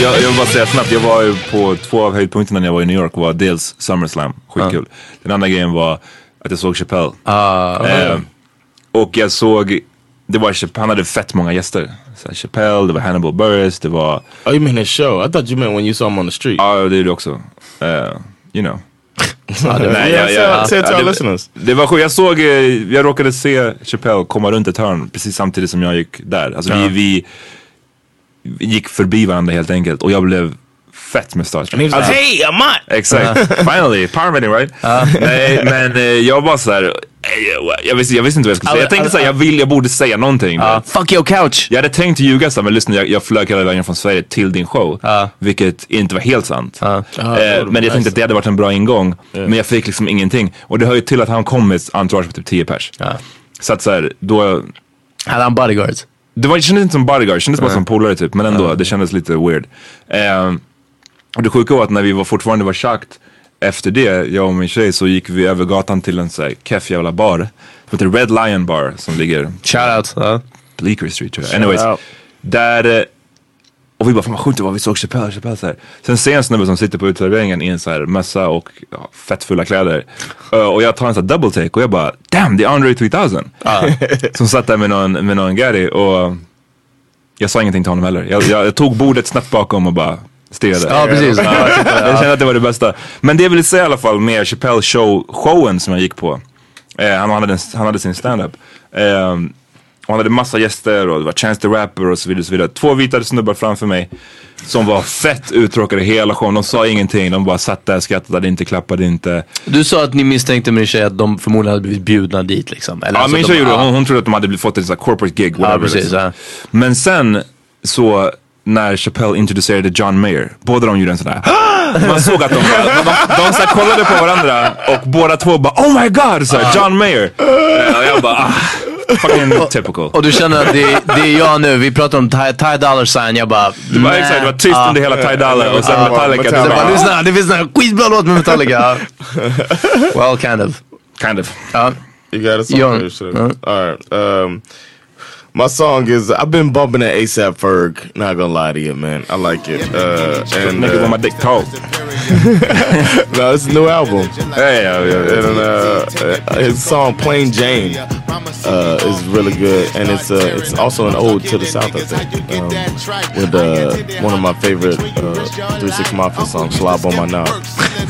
Speaker 3: jag, jag vill bara säga snabbt, jag var ju på två av höjdpunkterna när jag var i New York var dels SummerSlam, skitkul. Den andra grejen var att jag såg Chappelle.
Speaker 1: Ehm.
Speaker 3: eh, och jag såg, det var, Chapp- han hade fett många gäster. Så här, Chappelle, det var Hannibal Burris, det var,
Speaker 1: Oh, you mean his show? I thought you meant when you saw him on the street.
Speaker 3: ja det är det också. Eh, you know.
Speaker 1: yeah,
Speaker 3: Nej, jag-
Speaker 1: say,
Speaker 3: jag-
Speaker 1: say it to
Speaker 3: ja,
Speaker 1: our
Speaker 3: det-
Speaker 1: listeners.
Speaker 3: Det var sjukt, jag såg, eh, jag råkade se Chappelle komma runt ett hörn precis samtidigt som jag gick där. Alltså vi, vi gick förbi varandra helt enkelt och jag blev fett med starstruck.
Speaker 1: He was like, hey, Amant.
Speaker 3: Exakt, finally, parmesan right? Nej men eh, jag var såhär, eh, jag- jag visste, jag visste inte vad jag skulle säga. Jag tänkte såhär, jag vill, jag borde säga någonting.
Speaker 2: Ja, Ah, fuck your couch!
Speaker 3: Jag hade tänkt ljuga såhär, men lyssna jag, jag flög hela vägen från Sverige till din show.
Speaker 2: Ja.
Speaker 3: Vilket inte var helt sant.
Speaker 1: Ah,
Speaker 3: Eh, men jag tänkte att det hade varit en bra ingång. Men jag fick liksom ingenting. Och det hör ju till att han kom med ett entourage på typ 10 pers. Så att såhär, då
Speaker 2: Hade Ah. han bodyguards?
Speaker 3: det, var, det kändes inte som bodyguard, det kändes bara som polare typ. Men ändå, det kändes lite weird. Ehm, och det sjuka var att när vi var, fortfarande var tjackt efter det, jag och min tjej, så gick vi över gatan till en så här keff jävla bar. Som heter Red Lion Bar som ligger
Speaker 2: Shoutout. Ja.
Speaker 3: Bleecker Street tror jag. Anyways,
Speaker 1: out.
Speaker 3: där... eh, Och vi bara, fan vad sjukt det var, vi såg Chappelle, Chappelle så här. Sen ser jag en snubbe som sitter på uteserveringen i en så här mössa och ja, fettfulla kläder. Ö, och jag tar en sån här double take och jag bara, damn det är Andre 3000. Som satt där med någon, med någon Gary och jag sa ingenting till honom heller. Jag, jag, jag tog bordet snabbt bakom och bara stirrade.
Speaker 2: Ja, precis.
Speaker 3: Ja, jag kände att det var det bästa. Men det jag ville säga i alla fall med Chappelle show, showen som jag gick på. Eh, han, hade, en- han hade sin standup. Eh, Och han hade massa gäster och det var Chance the Rapper och så vidare. Och så vidare. Två vita snubbar framför mig som var fett uttråkade hela showen. De sa ingenting, de bara satt där, skrattade inte, klappade inte.
Speaker 2: Du sa att ni misstänkte min tjej att de förmodligen hade blivit bjudna dit liksom. Eller
Speaker 3: Ja,
Speaker 2: alltså
Speaker 3: min
Speaker 2: att
Speaker 3: tjej
Speaker 2: de-
Speaker 3: gjorde det.
Speaker 2: ja.
Speaker 3: Hon, hon trodde att de hade blivit- fått ett så här corporate gig. Whatever,
Speaker 2: Ja, precis.
Speaker 3: liksom.
Speaker 2: Ja.
Speaker 3: Men sen så när Chappelle introducerade John Mayer, båda de gjorde en sån här Man såg att de, bara, de, de, de så här kollade på varandra och båda två bara oh my god, så här, John Mayer. Eh, Och jag bara ah, fucking typical.
Speaker 2: Och du känner att det, det är jag nu. Vi pratar om Ty, Ty Dollar Sign. Jag bara...
Speaker 3: Det var,
Speaker 2: "Nä."
Speaker 3: exakt, det var tyst under hela Ty Dolla och sen
Speaker 2: Ja.
Speaker 3: Metallica.
Speaker 2: Så jag
Speaker 3: typ
Speaker 2: bara,
Speaker 3: bara,
Speaker 2: lyssna, det finns en skitbra låt med Metallica. well, kind of.
Speaker 3: Kind of.
Speaker 2: Ja.
Speaker 1: You got a song?
Speaker 2: Yo.
Speaker 1: or should I- All right. Um, my song is I've been bumping at ASAP Ferg. Not gonna lie to you, man. I like it. Uh, and
Speaker 3: Nigga with my
Speaker 1: uh,
Speaker 3: dick tall.
Speaker 1: no, it's a new album.
Speaker 3: Hey, yeah, yeah, yeah.
Speaker 1: And uh, uh, his song Plain Jane uh, is really good, and it's uh, it's also an ode to the South, I think, um, with uh, one of my favorite uh, Three Six Mafia songs, "Slob on My Knob."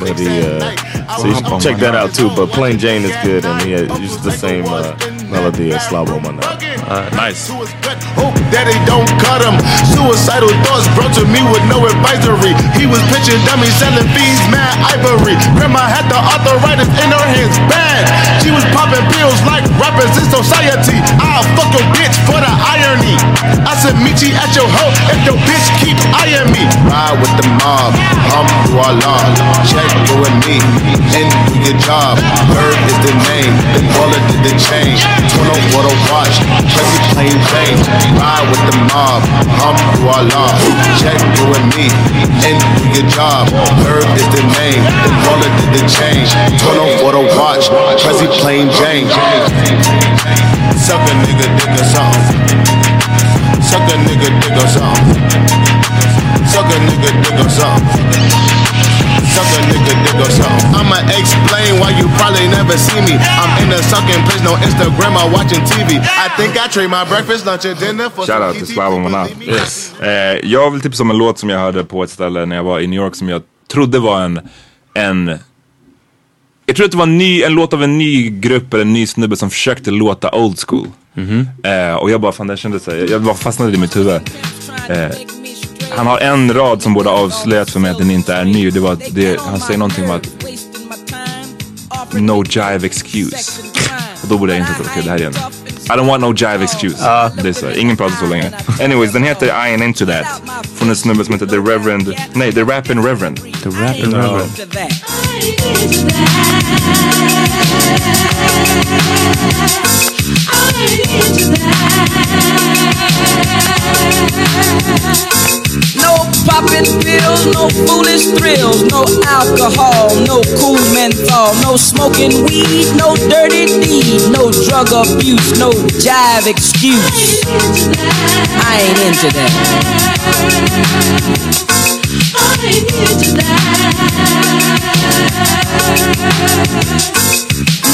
Speaker 1: But he, uh, so you should check that out too. But Plain Jane is good, and he uh, uses the same uh, melody as "Slob on My Knob."
Speaker 3: Nice.
Speaker 6: Hope that they Oh, don't cut him. Suicidal thoughts brought to me with no advisory. He was pitching dummies, selling fees, mad ivory. Grandma had the arthritis in her hands, bad. She was popping pills like rappers in society. I'll fuck your bitch for the irony. I said, meet you at your hoe if your bitch keep eyeing me. Ride with the mob, hum through our law. Check you and me, and do your job. Herb is the name, the wallet is the chain. Turn on what a watch, Chelsea plain Jane. Ride with the mob, hum through our law. Check you and me, and do your job. Herb is the name, the wallet is the chain. Turn on what a watch, Chelsea plain Jane. Suck a nigga dick or something. Suck a nigga dick or something. Suck a nigga dick or something. Suck a nigga dick or something. I'ma explain why you probably never see me. I'm in the sucking place, no Instagram or watching TV. I think I trade my breakfast, lunch, and dinner for
Speaker 3: Shoutout till Slava Manal. Eh, jag vill tipsa om en låt som jag hörde på ett ställe när jag var i New York som jag trodde var en... en jag tror att det var en, ny, en låt av en ny grupp eller en ny snubbe som försökte låta old school. Eh, och jag bara, fan det kändes så här, jag bara fastnade i mitt huvud. Eh, han har en rad som borde ha avslöjat för mig att den inte är ny. Det var att det, han säger någonting om att no jive excuse. Och då borde jag inte okej det här igen. I don't want no jive excuse. Det är så, här, ingen pratar så länge. Anyways, den heter I ain't into that. Från en snubbe som heter The Reverend, nej The Rappin' Reverend. The Rappin' Reverend.
Speaker 6: No popping pills, no foolish thrills, no alcohol, no cool menthol, no smoking weed, no dirty deed, no drug abuse, no jive excuse. I ain't into that.